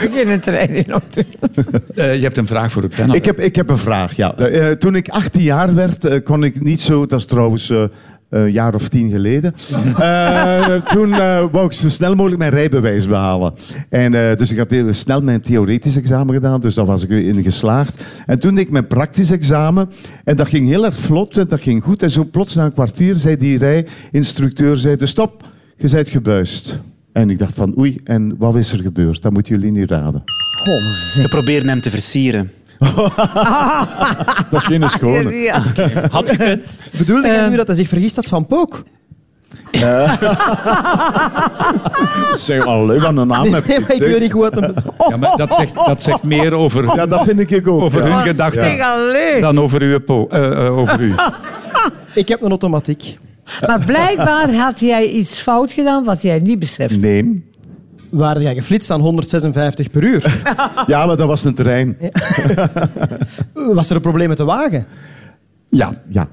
Speaker 5: We kunnen trein in Oud-Turnhout.
Speaker 4: Eh, je hebt een vraag voor de panel.
Speaker 10: Ik heb, ik heb een vraag, ja. Eh, eh, toen ik 18 jaar werd, eh, kon ik niet zo... Dat is trouwens eh, een jaar of tien [laughs] geleden. Eh, toen eh, wou ik zo snel mogelijk mijn rijbewijs behalen. En, eh, dus ik had heel snel mijn theoretisch examen gedaan, dus daar was ik in geslaagd. En toen deed ik mijn praktisch examen. En dat ging heel erg vlot en dat ging goed. En zo plots na een kwartier zei die rijinstructeur, zei de stop, je bent gebuist. En ik dacht van oei, en wat is er gebeurd? Dat moeten jullie niet raden.
Speaker 5: Kom, zeg.
Speaker 6: We proberen hem te versieren.
Speaker 10: Dat was geen schone.
Speaker 5: Ja.
Speaker 6: Had gekund.
Speaker 7: Bedoelde jij nu dat hij zich vergist had van Pook?
Speaker 10: Zeg, allee, wat een naam heb je,
Speaker 7: Nee, maar ik
Speaker 10: zeg.
Speaker 7: weet niet goed wat hem...
Speaker 4: Ja, maar dat, zegt, dat zegt meer over,
Speaker 10: Ja, dat vind ik ook.
Speaker 4: over
Speaker 10: ja.
Speaker 4: hun gedachten
Speaker 5: Zeg, allee.
Speaker 4: dan over, uw po- eh, eh, over u.
Speaker 7: Ik heb een automatiek.
Speaker 5: Maar blijkbaar had jij iets fout gedaan wat jij niet beseft.
Speaker 10: Nee.
Speaker 7: Waar jij geflitst aan 156 per uur?
Speaker 10: Ja, maar dat was een terrein.
Speaker 7: Was er een probleem met de wagen?
Speaker 4: Ja,
Speaker 10: Ja.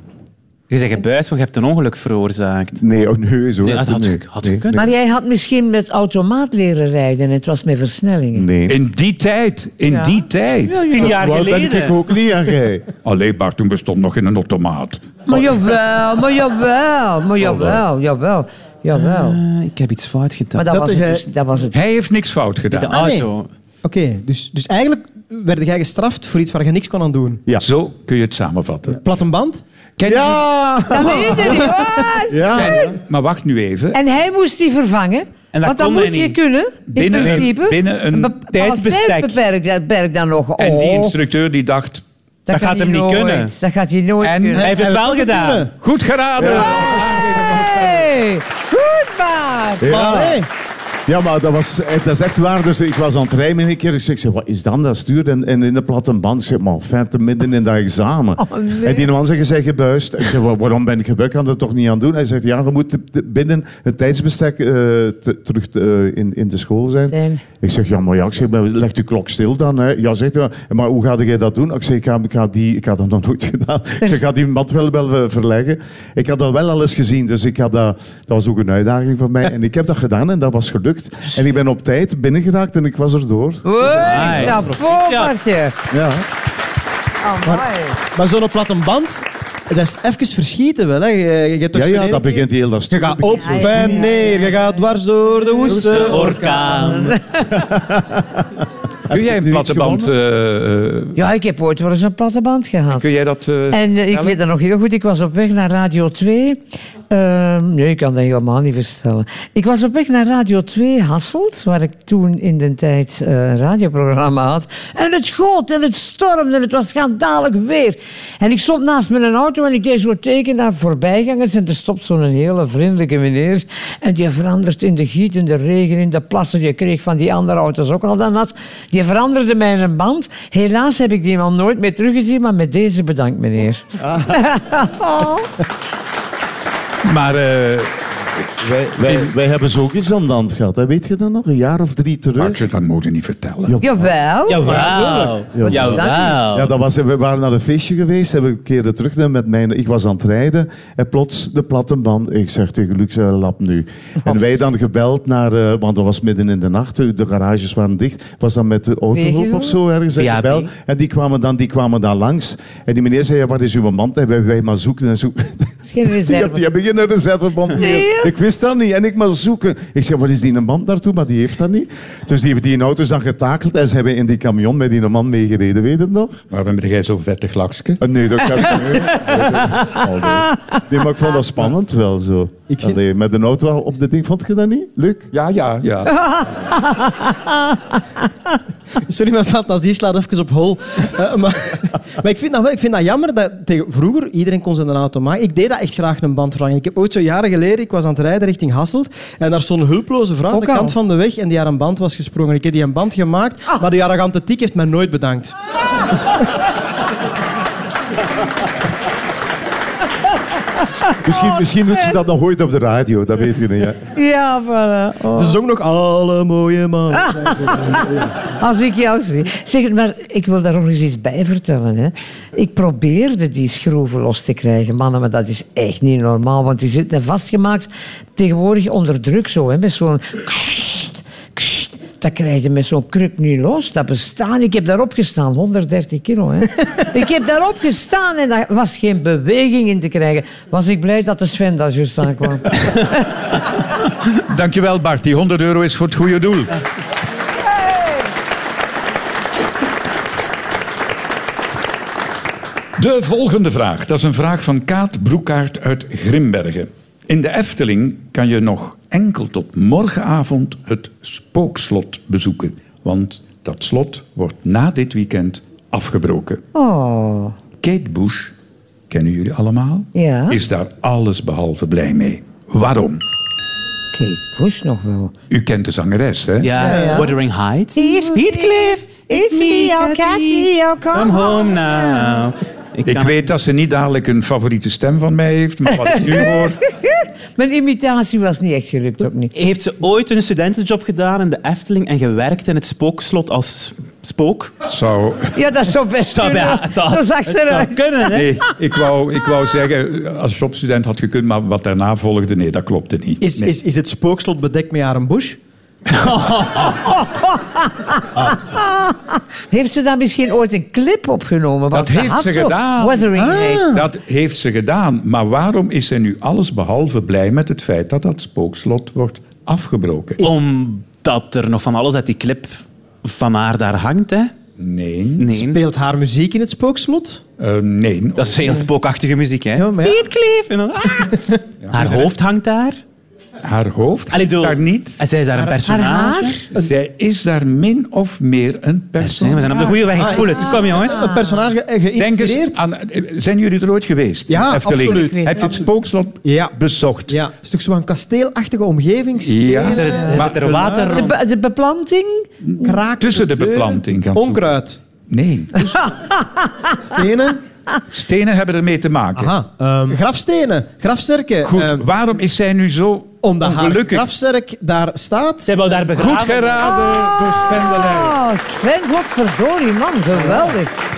Speaker 6: Je zegt gebuist, want je hebt een ongeluk veroorzaakt.
Speaker 11: Nee, oh, nee, zo
Speaker 6: Nee,
Speaker 11: werkt
Speaker 6: dat
Speaker 11: het niet.
Speaker 6: had ik- had
Speaker 11: nee,
Speaker 6: gekund.
Speaker 5: Maar jij had misschien met automaat leren rijden. Het was met versnellingen.
Speaker 11: Nee.
Speaker 4: In die tijd, in
Speaker 5: Ja.
Speaker 4: die tijd.
Speaker 6: Tien jaar
Speaker 11: Wou
Speaker 6: geleden.
Speaker 11: ben ik ook niet aan jij.
Speaker 4: Allee, Bart, toen bestond nog geen automaat.
Speaker 5: Maar jawel, maar jawel, maar jawel, jawel, jawel.
Speaker 6: Eh, ik heb iets fout gedaan.
Speaker 5: Maar dat
Speaker 7: Zette
Speaker 5: was het
Speaker 7: jij-
Speaker 5: dus. Dat was
Speaker 4: [laughs]
Speaker 5: het.
Speaker 4: Hij heeft niks fout
Speaker 6: de
Speaker 4: gedaan.
Speaker 7: Ah, nee.
Speaker 6: auto.
Speaker 7: Oké, dus, dus eigenlijk werd jij gestraft voor iets waar je niks kon aan doen.
Speaker 11: Ja.
Speaker 4: Zo kun je het samenvatten.
Speaker 7: Platte band?
Speaker 4: Ken je-
Speaker 11: Ja!
Speaker 5: Dat weet je niet. Wat?
Speaker 4: Ken- Maar wacht nu even.
Speaker 5: En hij moest die vervangen.
Speaker 6: En dat
Speaker 5: want dat
Speaker 6: kon hij
Speaker 5: moet je
Speaker 6: niet.
Speaker 5: kunnen, in
Speaker 4: Binnen-
Speaker 5: principe.
Speaker 4: binnen een
Speaker 5: bepaald
Speaker 6: tijdsbestek.
Speaker 5: tijdbeperk, dat beperk dan nog.
Speaker 4: En die
Speaker 5: Oh,
Speaker 4: instructeur die dacht,
Speaker 5: dat
Speaker 6: gaat
Speaker 5: kan
Speaker 6: hem
Speaker 5: hij
Speaker 6: niet
Speaker 5: nooit.
Speaker 6: kunnen.
Speaker 5: Dat gaat hij nooit
Speaker 4: En-
Speaker 5: kunnen.
Speaker 6: Hij heeft het
Speaker 7: Hij
Speaker 6: wel
Speaker 7: heeft het
Speaker 6: gedaan.
Speaker 7: kunnen.
Speaker 4: goed geraden.
Speaker 5: Hey, goed maar.
Speaker 7: Maar
Speaker 11: Ja.
Speaker 7: nee.
Speaker 11: Ja, maar dat, was, dat is echt waar. Dus ik was aan het rijden een keer. Ik zeg, wat is dan dat stuur? En, en in de platte band. Ik zeg, maar fijn, te midden in dat examen.
Speaker 10: Oh,
Speaker 5: nee.
Speaker 11: En die man zegt, je bent gebuist. Ik zeg, "Wa- waarom ben ik gebuist? Ik kan er toch niet aan doen? Hij zegt, ja, je moet te- te- binnen het tijdsbestek eh, te- terug eh, in, in de school zijn.
Speaker 5: Zijn.
Speaker 11: Ik zeg, ja, maar ja, ik zeg, maar leg de klok stil dan. Hè. Ja, zegt hij, maar hoe ga jij dat doen? Ik zeg, ik ga, ik ga die, ik had dat nog nooit [laughs] gedaan. Ik zeg, ik ga die mat wel, wel eh, verleggen. Ik had dat wel al eens gezien, dus ik had dat, dat was ook een uitdaging voor mij. En ik heb dat gedaan en dat was gelukt. En ik ben op tijd binnengeraakt en ik was erdoor.
Speaker 5: Hoi,
Speaker 6: Amai.
Speaker 5: chapeau,
Speaker 6: Ja.
Speaker 5: Bartje.
Speaker 11: Ja.
Speaker 5: Amai.
Speaker 7: Maar zo'n platte band, dat is even verschieten wel. Hè. Je, je hebt toch
Speaker 11: Ja,
Speaker 7: zo'n
Speaker 11: ja,
Speaker 7: ene
Speaker 11: dat
Speaker 7: keer-
Speaker 11: begint heel dat
Speaker 7: Je
Speaker 11: stuk.
Speaker 7: gaat op
Speaker 5: Ja, ja,
Speaker 7: en
Speaker 5: ja,
Speaker 7: neer, je gaat dwars door de woeste
Speaker 6: Orkaan.
Speaker 4: Kun jij een platte band... eh, eh,
Speaker 5: Ja, ik heb ooit wel eens een platte band gehad.
Speaker 4: kun jij dat... eh,
Speaker 5: En eh, ik
Speaker 4: vertellen?
Speaker 5: weet dat nog heel goed. Ik was op weg naar Radio 2. Ehm, nee, ik kan dat helemaal niet vertellen. Ik was op weg naar Radio 2 Hasselt, waar ik toen in de tijd eh, een radioprogramma had. En het goot en het stormde en het was schandalig weer. En ik stond naast mijn auto en ik deed zo'n teken naar voorbijgangers. En er stopt zo'n hele vriendelijke meneer. En die verandert in de giet, in de regen, in de plassen. Je kreeg van die andere auto's ook al dat nat. Die veranderde mijn band. Helaas heb ik die man nooit meer teruggezien, maar met deze bedankt, meneer.
Speaker 11: Maar eh, wij, wij, wij hebben zo ook iets aan de hand gehad. Hè. Weet je dat nog? Een jaar of drie terug?
Speaker 4: Bartje, dat moet je niet vertellen.
Speaker 5: Jawel.
Speaker 6: Jawel.
Speaker 11: Ja. Ja,
Speaker 6: Jawel.
Speaker 11: dat was, we waren naar een feestje geweest en we keerden terug naar- met mijn... Ik was aan het rijden en plots de platte band. Ik zeg tegen Luc, eh, lap nu. En wij dan gebeld naar... eh, want dat was midden in de nacht, eh, de garages waren dicht. Was dan met de autogroep
Speaker 5: Wegenhoorn?
Speaker 11: of zo ergens. En,
Speaker 6: VAB.
Speaker 11: gebeld, en die, kwamen dan, die kwamen dan langs. En die meneer zei, ja, waar is uw band? En wij, wij maar zoeken en zoeken.
Speaker 5: is geen
Speaker 11: Die, heb- die
Speaker 5: reserve.
Speaker 11: hebben geen reserveband meer.
Speaker 5: Nee.
Speaker 11: Ik wist dat niet. En ik maar zoeken. Ik zeg, waar is die een band naartoe? Maar die heeft dat niet. Dus die hebben die in auto's dan getakeld. En ze hebben in die camion met die man meegereden. Weet je het nog?
Speaker 4: Waarom ben jij zo'n vettig lakske?
Speaker 11: Ah, Nee, dat kan ik niet. Oh, nee. nee, maar ik vond dat spannend wel zo. Allee, met een auto op dit ding, vond je dat niet, Luc?
Speaker 4: Ja, ja, ja.
Speaker 7: [laughs] Sorry, mijn fantasie slaat even op hol. Eh, maar [laughs] maar ik, vind dat wel, ik vind dat jammer dat tegen, vroeger iedereen kon zijn auto maken. Ik deed dat echt graag een band vervangen. Ik heb ooit zo jaren geleden, ik was aan het rijden richting Hasselt en daar stond een hulploze vrouw aan
Speaker 5: Ook
Speaker 7: de kant
Speaker 5: al.
Speaker 7: van de weg en die haar een band was gesprongen. Ik heb die een band gemaakt,
Speaker 5: Ah.
Speaker 7: maar die arrogante tiek heeft mij nooit bedankt.
Speaker 11: Misschien, misschien doet ze dat nog ooit op de radio, dat weet je niet. Hè?
Speaker 5: Ja, voilà. Oh.
Speaker 11: Ah.
Speaker 7: Ze zong nog alle mooie man.
Speaker 5: Ah. Als ik jou zie. Zeg, maar ik wil daar nog eens iets bij vertellen. Hè. Ik probeerde die schroeven los te krijgen, mannen, maar dat is echt niet normaal. Want die zitten vastgemaakt tegenwoordig onder druk zo, hè, met zo'n... kst, kst. Dat krijg je met zo'n kruk niet los. Dat bestaat. niet. Ik heb daarop gestaan, 130 kilo. Hè. ik heb daarop gestaan en daar was geen beweging in te krijgen. Was ik blij dat de Sven daar juist aankwam.
Speaker 4: Dankjewel, Bart. Die 100 euro is voor het goede doel. De volgende vraag. Dat is een vraag van Kaat Broekaert uit Grimbergen. In de Efteling kan je nog enkel tot morgenavond het spookslot bezoeken. Want dat slot wordt na dit weekend afgebroken.
Speaker 5: Oh,
Speaker 4: Kate Bush, kennen jullie allemaal,
Speaker 5: Ja.
Speaker 4: is daar allesbehalve blij mee. Waarom?
Speaker 5: Kate Bush nog wel.
Speaker 4: U kent de zangeres, hè?
Speaker 6: Ja, Wuthering Heights.
Speaker 5: Heathcliff, it's me, your Cassie,
Speaker 6: Come home now.
Speaker 4: Ik
Speaker 6: kan-
Speaker 4: weet dat ze niet dadelijk een favoriete stem van mij heeft, maar wat ik
Speaker 6: [laughs]
Speaker 4: nu hoor...
Speaker 5: Mijn imitatie was niet echt gelukt, ook niet.
Speaker 6: Heeft ze ooit een studentenjob gedaan in de Efteling en gewerkt in het spookslot als Spook.
Speaker 4: Zou...
Speaker 5: Ja, dat zou best
Speaker 6: Zou-
Speaker 5: kunnen.
Speaker 6: ja, het zou-
Speaker 5: Zo zag
Speaker 6: het
Speaker 5: ze
Speaker 6: zou
Speaker 5: eruit.
Speaker 6: kunnen, hè?
Speaker 4: Nee, ik wou, ik wou zeggen, als shopstudent had gekund, maar wat daarna volgde, nee, dat klopte niet.
Speaker 7: Is,
Speaker 4: Nee.
Speaker 7: is, is het spookslot bedekt met haar een bush?
Speaker 5: Heeft ze daar misschien ooit een clip opgenomen? Want
Speaker 4: Dat heeft
Speaker 5: had
Speaker 4: ze
Speaker 5: zo
Speaker 4: gedaan. Ah.
Speaker 5: Wuthering Heights.
Speaker 6: Ah.
Speaker 4: Dat heeft ze gedaan. Maar waarom is ze nu allesbehalve blij met het feit dat dat spookslot wordt afgebroken?
Speaker 6: Omdat er nog van alles uit die clip van haar daar hangt, hè?
Speaker 4: Nee.
Speaker 6: Nee.
Speaker 7: Speelt haar muziek in het spookslot?
Speaker 4: Eh, nee.
Speaker 6: Dat is heel spookachtige muziek, hè?
Speaker 7: Ja, maar ja.
Speaker 6: Niet kleef! En dan, ah. Haar hoofd hangt daar.
Speaker 4: Haar hoofd
Speaker 6: Allee, ik bedoel,
Speaker 4: daar niet.
Speaker 6: En zij is daar een
Speaker 5: Haar
Speaker 6: personage.
Speaker 5: haar?
Speaker 4: Zij is daar min of meer een
Speaker 6: Nee, we zijn op de
Speaker 4: personage.
Speaker 6: goede weg.
Speaker 7: Ah,
Speaker 6: Ik voel het. Kom, jongens.
Speaker 7: Een personage ge-
Speaker 4: Denk
Speaker 7: geïnspireerd?
Speaker 4: eens aan, eh, zijn jullie er ooit geweest?
Speaker 7: Ja,
Speaker 4: Efteling?
Speaker 7: absoluut.
Speaker 4: Heb je het spookslot
Speaker 7: Ja.
Speaker 4: bezocht?
Speaker 7: Ja, het is toch zo'n kasteelachtige
Speaker 4: Ja.
Speaker 7: omgeving? stenen,
Speaker 4: Is er-
Speaker 6: Is het er water?
Speaker 5: De, be- de beplanting?
Speaker 7: kraken,
Speaker 4: Tussen de
Speaker 7: deuren.
Speaker 4: beplanting gaan
Speaker 7: Onkruid.
Speaker 4: Nee,
Speaker 7: Stenen.
Speaker 4: stenen hebben ermee te maken.
Speaker 7: Aha. ehm, grafstenen. Grafzerken.
Speaker 4: Goed,
Speaker 7: Ehm,
Speaker 4: waarom is zij nu zo
Speaker 7: omdat haar
Speaker 4: ongelukkig?
Speaker 7: grafzerk daar staat.
Speaker 6: Zij wou daar begraven.
Speaker 4: Goed geraden door Sven de Leijer.
Speaker 5: Oh, Sven, godverdorie, man. Geweldig.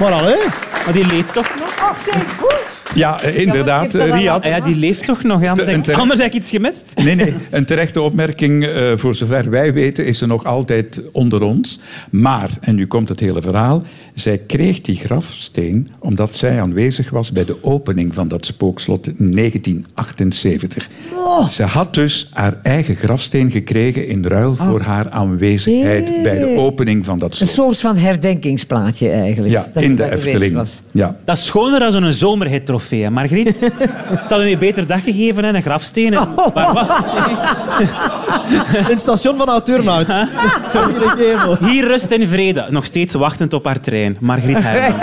Speaker 7: Maar al, hè?
Speaker 6: Maar die leeft toch nog?
Speaker 5: Oh, kijk, goed.
Speaker 4: Ja, eh, inderdaad,
Speaker 5: Ja, maar ik heb dat
Speaker 4: eh, Riad.
Speaker 6: Ah ja, die leeft toch nog. Ja, anders,
Speaker 4: Te-
Speaker 6: heb ik,
Speaker 4: te-
Speaker 6: anders heb ik iets gemist.
Speaker 4: Nee, nee, een terechte opmerking. eh, voor zover wij weten is ze nog altijd onder ons. Maar, en nu komt het hele verhaal, zij kreeg die grafsteen omdat zij aanwezig was bij de opening van dat spookslot in 1978.
Speaker 5: Oh.
Speaker 4: Ze had dus haar eigen grafsteen gekregen in ruil voor haar aanwezigheid
Speaker 5: Jee.
Speaker 4: bij de opening van dat
Speaker 5: Oh. Een
Speaker 4: slot.
Speaker 5: soort van herdenkingsplaatje eigenlijk.
Speaker 4: Ja,
Speaker 5: Dat
Speaker 4: in
Speaker 5: je
Speaker 4: de
Speaker 5: daar geweest
Speaker 4: Efteling.
Speaker 5: was. [laughs]
Speaker 4: Ja.
Speaker 6: Dat is schoner dan zo'n zomerhit-trofee, hè, Margriet? Ze hadden je beter dag gegeven en een grafsteen. En... Maar wat?
Speaker 7: In het station van Auturnout. Hier een gevel.
Speaker 6: Hier rust in vrede. Nog steeds wachtend op haar trein. Margriet Herman.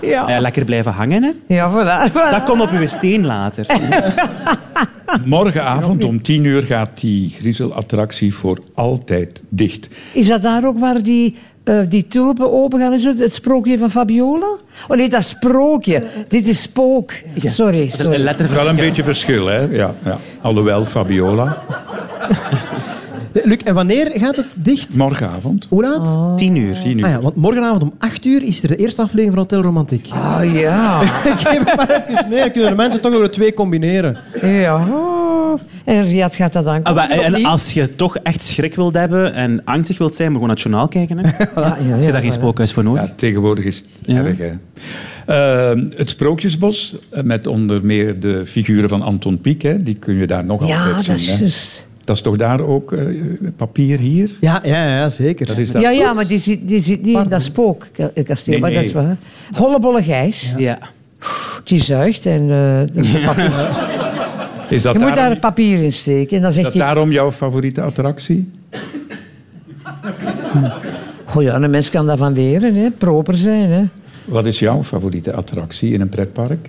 Speaker 5: Ja,
Speaker 6: Ja, lekker blijven hangen, hè.
Speaker 5: ja voilà. voilà.
Speaker 6: Dat komt op uw steen later.
Speaker 4: Morgenavond om tien uur gaat die griezelattractie voor altijd dicht.
Speaker 5: Is dat daar ook waar die, eh, die tulpen open gaan? en zo? Het sprookje van Fabiola? Oh nee, dat is sprookje. Dit is spook. Sorry,
Speaker 6: Dat is een
Speaker 5: sorry.
Speaker 4: Wel een
Speaker 6: letterverschil.
Speaker 4: beetje verschil, hè? Ja, ja. Alhoewel, Fabiola.
Speaker 7: Luc, en wanneer gaat het dicht?
Speaker 4: Morgenavond.
Speaker 7: Hoe laat?
Speaker 6: Tien uur.
Speaker 4: Tien uur.
Speaker 7: Ah ja, want morgenavond om 8 uur is er de eerste aflevering van Hotel Romantiek.
Speaker 5: Ah ja.
Speaker 7: [laughs] Ik geef het maar even meer. Kunnen de mensen toch nog de twee combineren?
Speaker 5: ja. En Riad gaat dat aankomen.
Speaker 6: Ah, wel,
Speaker 5: of
Speaker 6: En
Speaker 5: niet?
Speaker 6: als je toch echt schrik wilt hebben en angstig wilt zijn, moet je gewoon naar het journaal kijken. Hè. Heb
Speaker 5: [laughs] Ja, ja,
Speaker 6: je
Speaker 5: ja,
Speaker 6: daar geen
Speaker 5: voilà.
Speaker 6: spookhuis voor nodig?
Speaker 4: Ja, tegenwoordig is het
Speaker 6: Ja.
Speaker 4: erg, hè? Ehm, het Sprookjesbos, eh, met onder meer de figuren van Anton Pieck, hè? die kun je daar nog
Speaker 5: Ja,
Speaker 4: altijd
Speaker 5: dat
Speaker 4: zien.
Speaker 5: is
Speaker 4: Hè?
Speaker 5: dus...
Speaker 4: Dat is toch daar ook eh, papier hier?
Speaker 7: Ja, ja, ja zeker.
Speaker 4: Dat is daar.
Speaker 5: Ja, ja, maar die zit, die zit niet in dat spookkasteel.
Speaker 4: Nee,
Speaker 5: Maar dat
Speaker 4: nee.
Speaker 5: is waar. Hollebolle Gijs,
Speaker 6: Ja.
Speaker 5: die zuigt en eh,
Speaker 6: [laughs]
Speaker 5: dat is een papier.
Speaker 4: Is dat,
Speaker 5: je moet daar
Speaker 4: daarom,
Speaker 5: een papier in steken. En dan
Speaker 4: dat
Speaker 5: zegt hij,
Speaker 4: daarom jouw favoriete attractie?
Speaker 5: oh ja, een mens kan daarvan leren, hè. proper zijn. Hè.
Speaker 4: Wat is jouw favoriete attractie in een pretpark?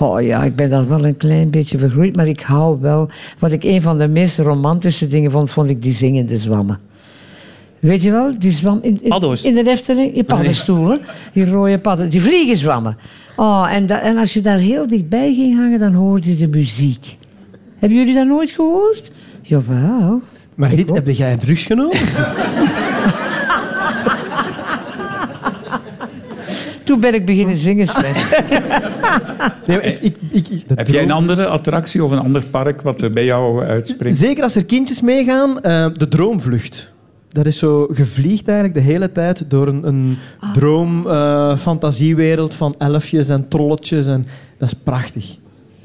Speaker 5: Oh ja, ik ben daar wel een klein beetje vergroeid, maar ik hou wel. Wat ik een van de meest romantische dingen vond, vond ik die zingende zwammen. Weet je wel, die zwam in, in,
Speaker 6: Paddo's.
Speaker 5: in de Efteling, in paddenstoelen, die rode padden, die vliegenzwammen. Oh, en, da- en als je daar heel dichtbij ging hangen, dan hoorde je de muziek. Hebben jullie dat nooit gehoord? Jawel.
Speaker 7: Maar
Speaker 5: Ik
Speaker 7: Riet,
Speaker 5: ook.
Speaker 7: heb jij een drugs genomen?
Speaker 5: Toen ben ik beginnen zingen,
Speaker 6: [laughs]
Speaker 5: Sven.
Speaker 7: [laughs] Nee, maar ik, ik, ik, ik- dat
Speaker 4: Heb jij een
Speaker 7: droom-
Speaker 4: andere attractie of een ander park wat er bij jou eh, uitspringt?
Speaker 7: Zeker als er kindjes meegaan, eh, de droomvlucht. Dat is zo gevliegd eigenlijk de hele tijd door een, een
Speaker 4: Ah.
Speaker 7: droomfantasiewereld van elfjes en trolletjes. En, dat is prachtig.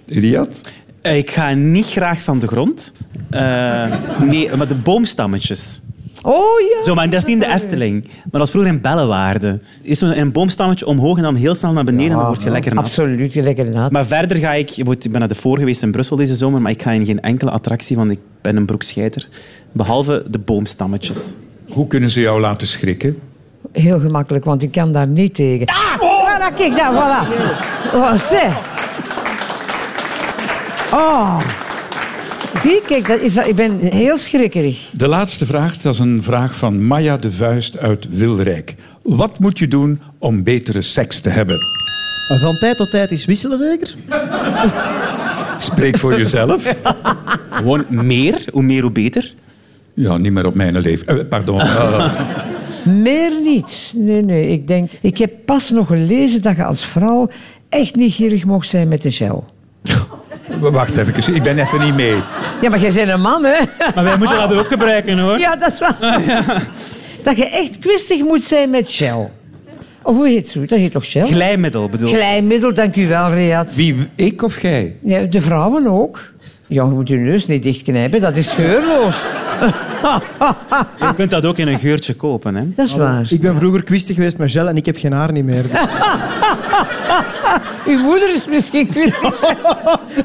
Speaker 4: Riad?
Speaker 6: Eh, Ik ga niet graag van de grond. Eh, nee, maar de boomstammetjes.
Speaker 5: Oh ja.
Speaker 6: Zo, maar dat is niet in de Efteling. Maar dat was vroeger in Bellewaarde. Eerst een een boomstammetje omhoog en dan heel snel naar beneden. en dan word je lekker nat.
Speaker 5: Absoluut, je lekker nat.
Speaker 6: Maar verder ga ik... je moet- Ik ben naar de voor geweest in Brussel deze zomer, maar ik ga in geen enkele attractie, want ik ben een broekscheiter. Behalve de boomstammetjes.
Speaker 4: Hoe kunnen ze jou laten schrikken?
Speaker 5: Heel gemakkelijk, want ik kan daar niet tegen. Ah! Voilà, kijk daar, voilà. Oh, zeg. Oh. Zie, kijk, dat is, ik ben heel schrikkerig.
Speaker 4: De laatste vraag, dat is een vraag van Maya de Vuist uit Wilrijk. Wat moet je doen om betere seks te hebben?
Speaker 7: En Eh, Van tijd tot tijd is wisselen zeker?
Speaker 4: Spreek voor [laughs] jezelf.
Speaker 6: Gewoon meer. Hoe meer, hoe beter.
Speaker 4: [laughs] Ja, niet meer op mijn leeftijd. Eh, pardon. Eh,
Speaker 5: Meer niet. Nee, nee. Ik denk, ik heb pas nog gelezen dat je als vrouw echt niet gierig mocht zijn met de gel.
Speaker 4: Wacht even, ik ben even niet mee.
Speaker 5: Ja, maar jij bent een man, hè? [laughs]
Speaker 8: Maar wij moeten dat ook gebruiken, hoor.
Speaker 5: Ja, dat is waar. Dat je echt kwistig moet zijn met gel. Of hoe heet het zo? Dat heet toch gel?
Speaker 6: Glijmiddel bedoel ik.
Speaker 5: Glijmiddel, dank u wel, Riyad.
Speaker 4: Wie, ik of jij?
Speaker 5: Ja, de vrouwen ook. Ja, je moet je neus niet dichtknijpen, dat is geurloos. [laughs]
Speaker 6: Je kunt dat ook in een geurtje kopen. Hè?
Speaker 5: Dat is waar.
Speaker 7: Ik ben vroeger kwistig geweest met gel en ik heb geen haar niet meer.
Speaker 4: [laughs]
Speaker 5: Uw moeder is misschien
Speaker 4: [laughs]
Speaker 5: kwistig.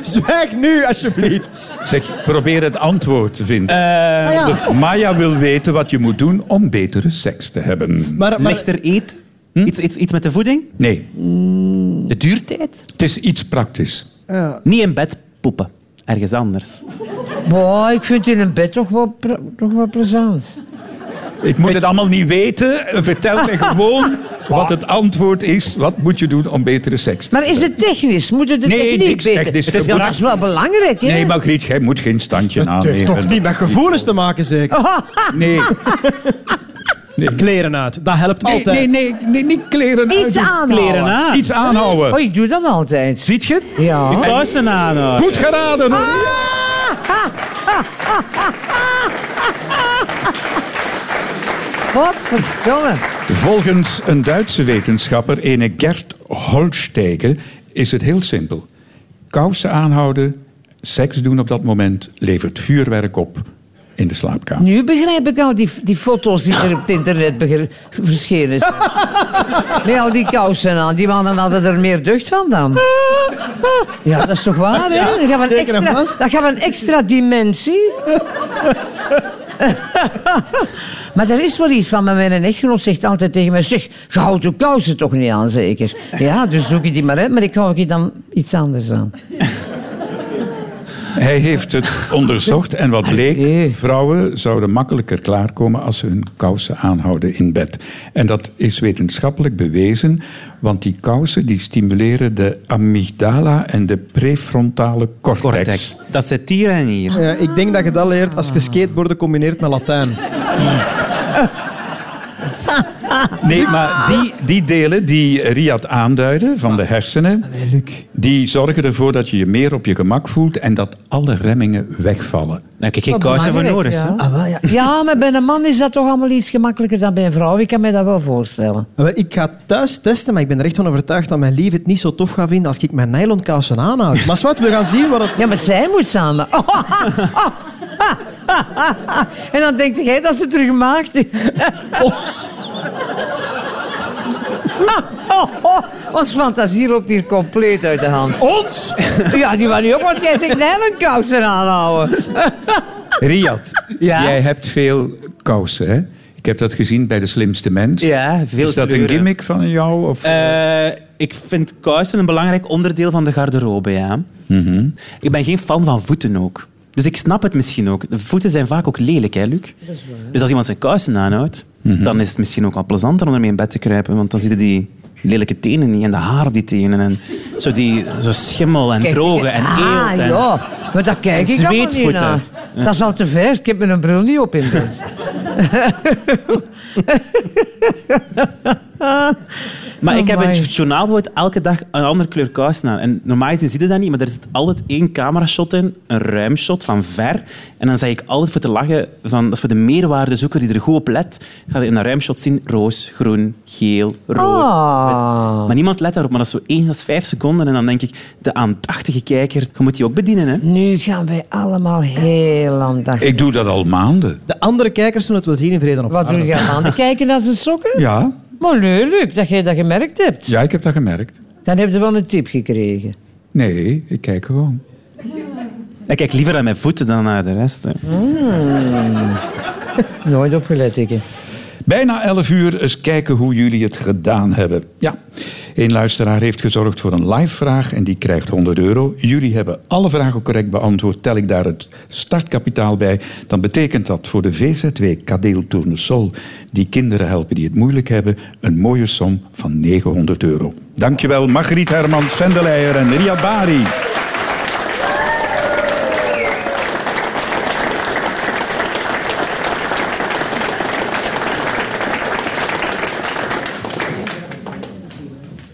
Speaker 7: Zwijg nu, alsjeblieft.
Speaker 4: Zeg, probeer het antwoord te vinden. Eh, Dus
Speaker 7: Ah, ja.
Speaker 4: Maya wil weten wat je moet doen om betere seks te hebben.
Speaker 7: Maar, maar
Speaker 6: Lichter eet. Iets, iets, iets met de voeding.
Speaker 4: Nee,
Speaker 7: Mm.
Speaker 6: De duurtijd.
Speaker 4: het is iets praktisch.
Speaker 6: Niet in bed poepen. Ergens anders.
Speaker 5: Boah, ik vind in een bed toch wel, pre- toch wel plezant.
Speaker 4: Ik moet het allemaal niet weten. Vertel me gewoon wat het antwoord is. Wat moet je doen om betere seks te
Speaker 5: Maar is het technisch? Moet het de
Speaker 4: Nee,
Speaker 5: techniek
Speaker 4: niks
Speaker 5: weten?
Speaker 4: technisch. Het is
Speaker 5: ja, dat is wel belangrijk, hè?
Speaker 4: Nee, maar Griet, jij moet geen standje
Speaker 7: het
Speaker 4: aannemen.
Speaker 7: heeft toch niet met gevoelens te maken, zeker?
Speaker 4: Oh. Nee,
Speaker 7: Kleren uit, dat helpt
Speaker 4: nee,
Speaker 7: altijd.
Speaker 4: nee, nee, nee, niet kleren
Speaker 5: Iets
Speaker 4: uitdoen.
Speaker 5: aanhouden.
Speaker 6: Kleren aan.
Speaker 4: Iets aanhouden.
Speaker 5: Oh, ik doe dat altijd.
Speaker 4: Ziet je het?
Speaker 5: Ja.
Speaker 6: Kousen aan. hoor.
Speaker 4: Goed geraden.
Speaker 5: Ah! Godverdomme.
Speaker 4: Volgens een Duitse wetenschapper, ene Gert Holstegen, is het heel simpel. Kousen aanhouden, seks doen op dat moment, levert vuurwerk op in de slaapkamer.
Speaker 5: Nu begrijp ik al die, die foto's die er op het internet beger- verschenen zijn. Met al die kousen aan. Die mannen hadden er meer deugd van dan. Ja, dat is toch waar, hè? Dat gaf een
Speaker 7: zeker en
Speaker 5: extra,
Speaker 7: vast.
Speaker 5: dat gaf een extra dimensie. maar er is wel iets van. Maar mijn echtgenoot zegt altijd tegen mij... Zeg, je houdt je kousen toch niet aan, zeker? Ja, dus doe ik die maar uit. Maar ik hou je dan iets anders aan.
Speaker 4: Hij heeft het onderzocht en wat
Speaker 5: Allee.
Speaker 4: bleek, vrouwen zouden makkelijker klaarkomen als ze hun kousen aanhouden in bed. En dat is wetenschappelijk bewezen, want die kousen die stimuleren de amygdala en de prefrontale cortex.
Speaker 6: Cortex. Dat zit hier en hier.
Speaker 7: Ja, Eh, ik denk dat je dat leert als je skateboarden combineert met Latijn.
Speaker 4: Nee, maar die, die delen die Riyad aanduiden van de hersenen, die zorgen ervoor dat je je meer op je gemak voelt en dat alle remmingen wegvallen.
Speaker 6: Daar heb ik Nou, geen
Speaker 5: Wat
Speaker 6: kousen voor nodig.
Speaker 5: belangrijk,
Speaker 6: hè.
Speaker 5: ja. Ja, maar bij een man is dat toch allemaal iets gemakkelijker dan bij een vrouw. Ik kan me dat wel voorstellen.
Speaker 7: Ah, wel, Ik ga het thuis testen, maar ik ben er echt van overtuigd dat mijn lief het niet zo tof gaat vinden als ik mijn nylon kousen aanhoud. Maar wat, we gaan zien wat het...
Speaker 5: Ja, maar zij moet samen. [laughs] En dan denkt jij dat ze terug maakt. [laughs] Ons fantasie loopt hier compleet uit de hand.
Speaker 7: Ons!
Speaker 5: Ja, die waren niet op, want jij zegt nijlonkousen aanhouden.
Speaker 4: Riyad,
Speaker 6: Ja.
Speaker 4: jij hebt veel kousen, hè? Ik heb dat gezien bij de slimste mens.
Speaker 6: Ja, veel
Speaker 4: is dat een
Speaker 6: kleuren.
Speaker 4: gimmick van jou? Of,
Speaker 6: Eh, ik vind kousen een belangrijk onderdeel van de garderobe, ja. Ik ben geen fan van voeten ook. Dus ik snap het misschien ook. De voeten zijn vaak ook lelijk, hè, Luc? Dus als iemand zijn kousen aanhoudt, dan is het misschien ook wel plezanter om ermee in bed te kruipen. Want dan zie je die lelijke tenen niet en de haar op die tenen. En zo, die, zo schimmel en droge en eelt.
Speaker 5: Ah,
Speaker 6: en-
Speaker 5: ja. Maar dat kijk
Speaker 6: en
Speaker 5: ik allemaal niet
Speaker 6: zweetvoeten.
Speaker 5: naar. Dat is al te ver. Ik heb mijn bril niet op in beeld.
Speaker 6: Maar
Speaker 5: Oh
Speaker 6: ik heb in
Speaker 5: my.
Speaker 6: het journaal bijvoorbeeld elke dag een andere kleur kousen aan. En normaal gezien zie je dat niet, maar er zit altijd één camerashot in, een ruim shot van ver. En dan zeg ik altijd voor te lachen, van, dat is voor de meerwaardezoeker die er goed op let, gaat je in dat ruimshot zien roos, groen, geel, rood.
Speaker 5: Ah.
Speaker 6: wit. Maar niemand let daarop, maar dat is zo één, dat is vijf seconden. En dan denk ik, de aandachtige kijker, je moet die ook bedienen. Hè?
Speaker 5: Nu gaan wij allemaal heel aandachtig.
Speaker 4: ik doe dat al maanden.
Speaker 7: De andere kijkers zullen het wel zien in vrede en op
Speaker 5: Wat doe je aan de kijken naar zijn sokken?
Speaker 4: Ja,
Speaker 5: Maar leuk dat jij dat gemerkt hebt.
Speaker 4: ja, ik heb dat gemerkt.
Speaker 5: Dan heb je wel een tip gekregen.
Speaker 4: Nee, ik kijk gewoon.
Speaker 6: Ik kijk liever aan mijn voeten dan naar de rest. Hè.
Speaker 5: Nooit opgelet, ik. hè.
Speaker 4: Bijna 11 uur, eens kijken hoe jullie het gedaan hebben. Ja, een luisteraar heeft gezorgd voor een live vraag en die krijgt 100 euro. Jullie hebben alle vragen correct beantwoord. Tel ik daar het startkapitaal bij, dan betekent dat voor de VZW Kadeel Tournesol, die kinderen helpen die het moeilijk hebben, een mooie som van 900 euro. Dankjewel Margriet Hermans, Vendelijer en Ria Bari.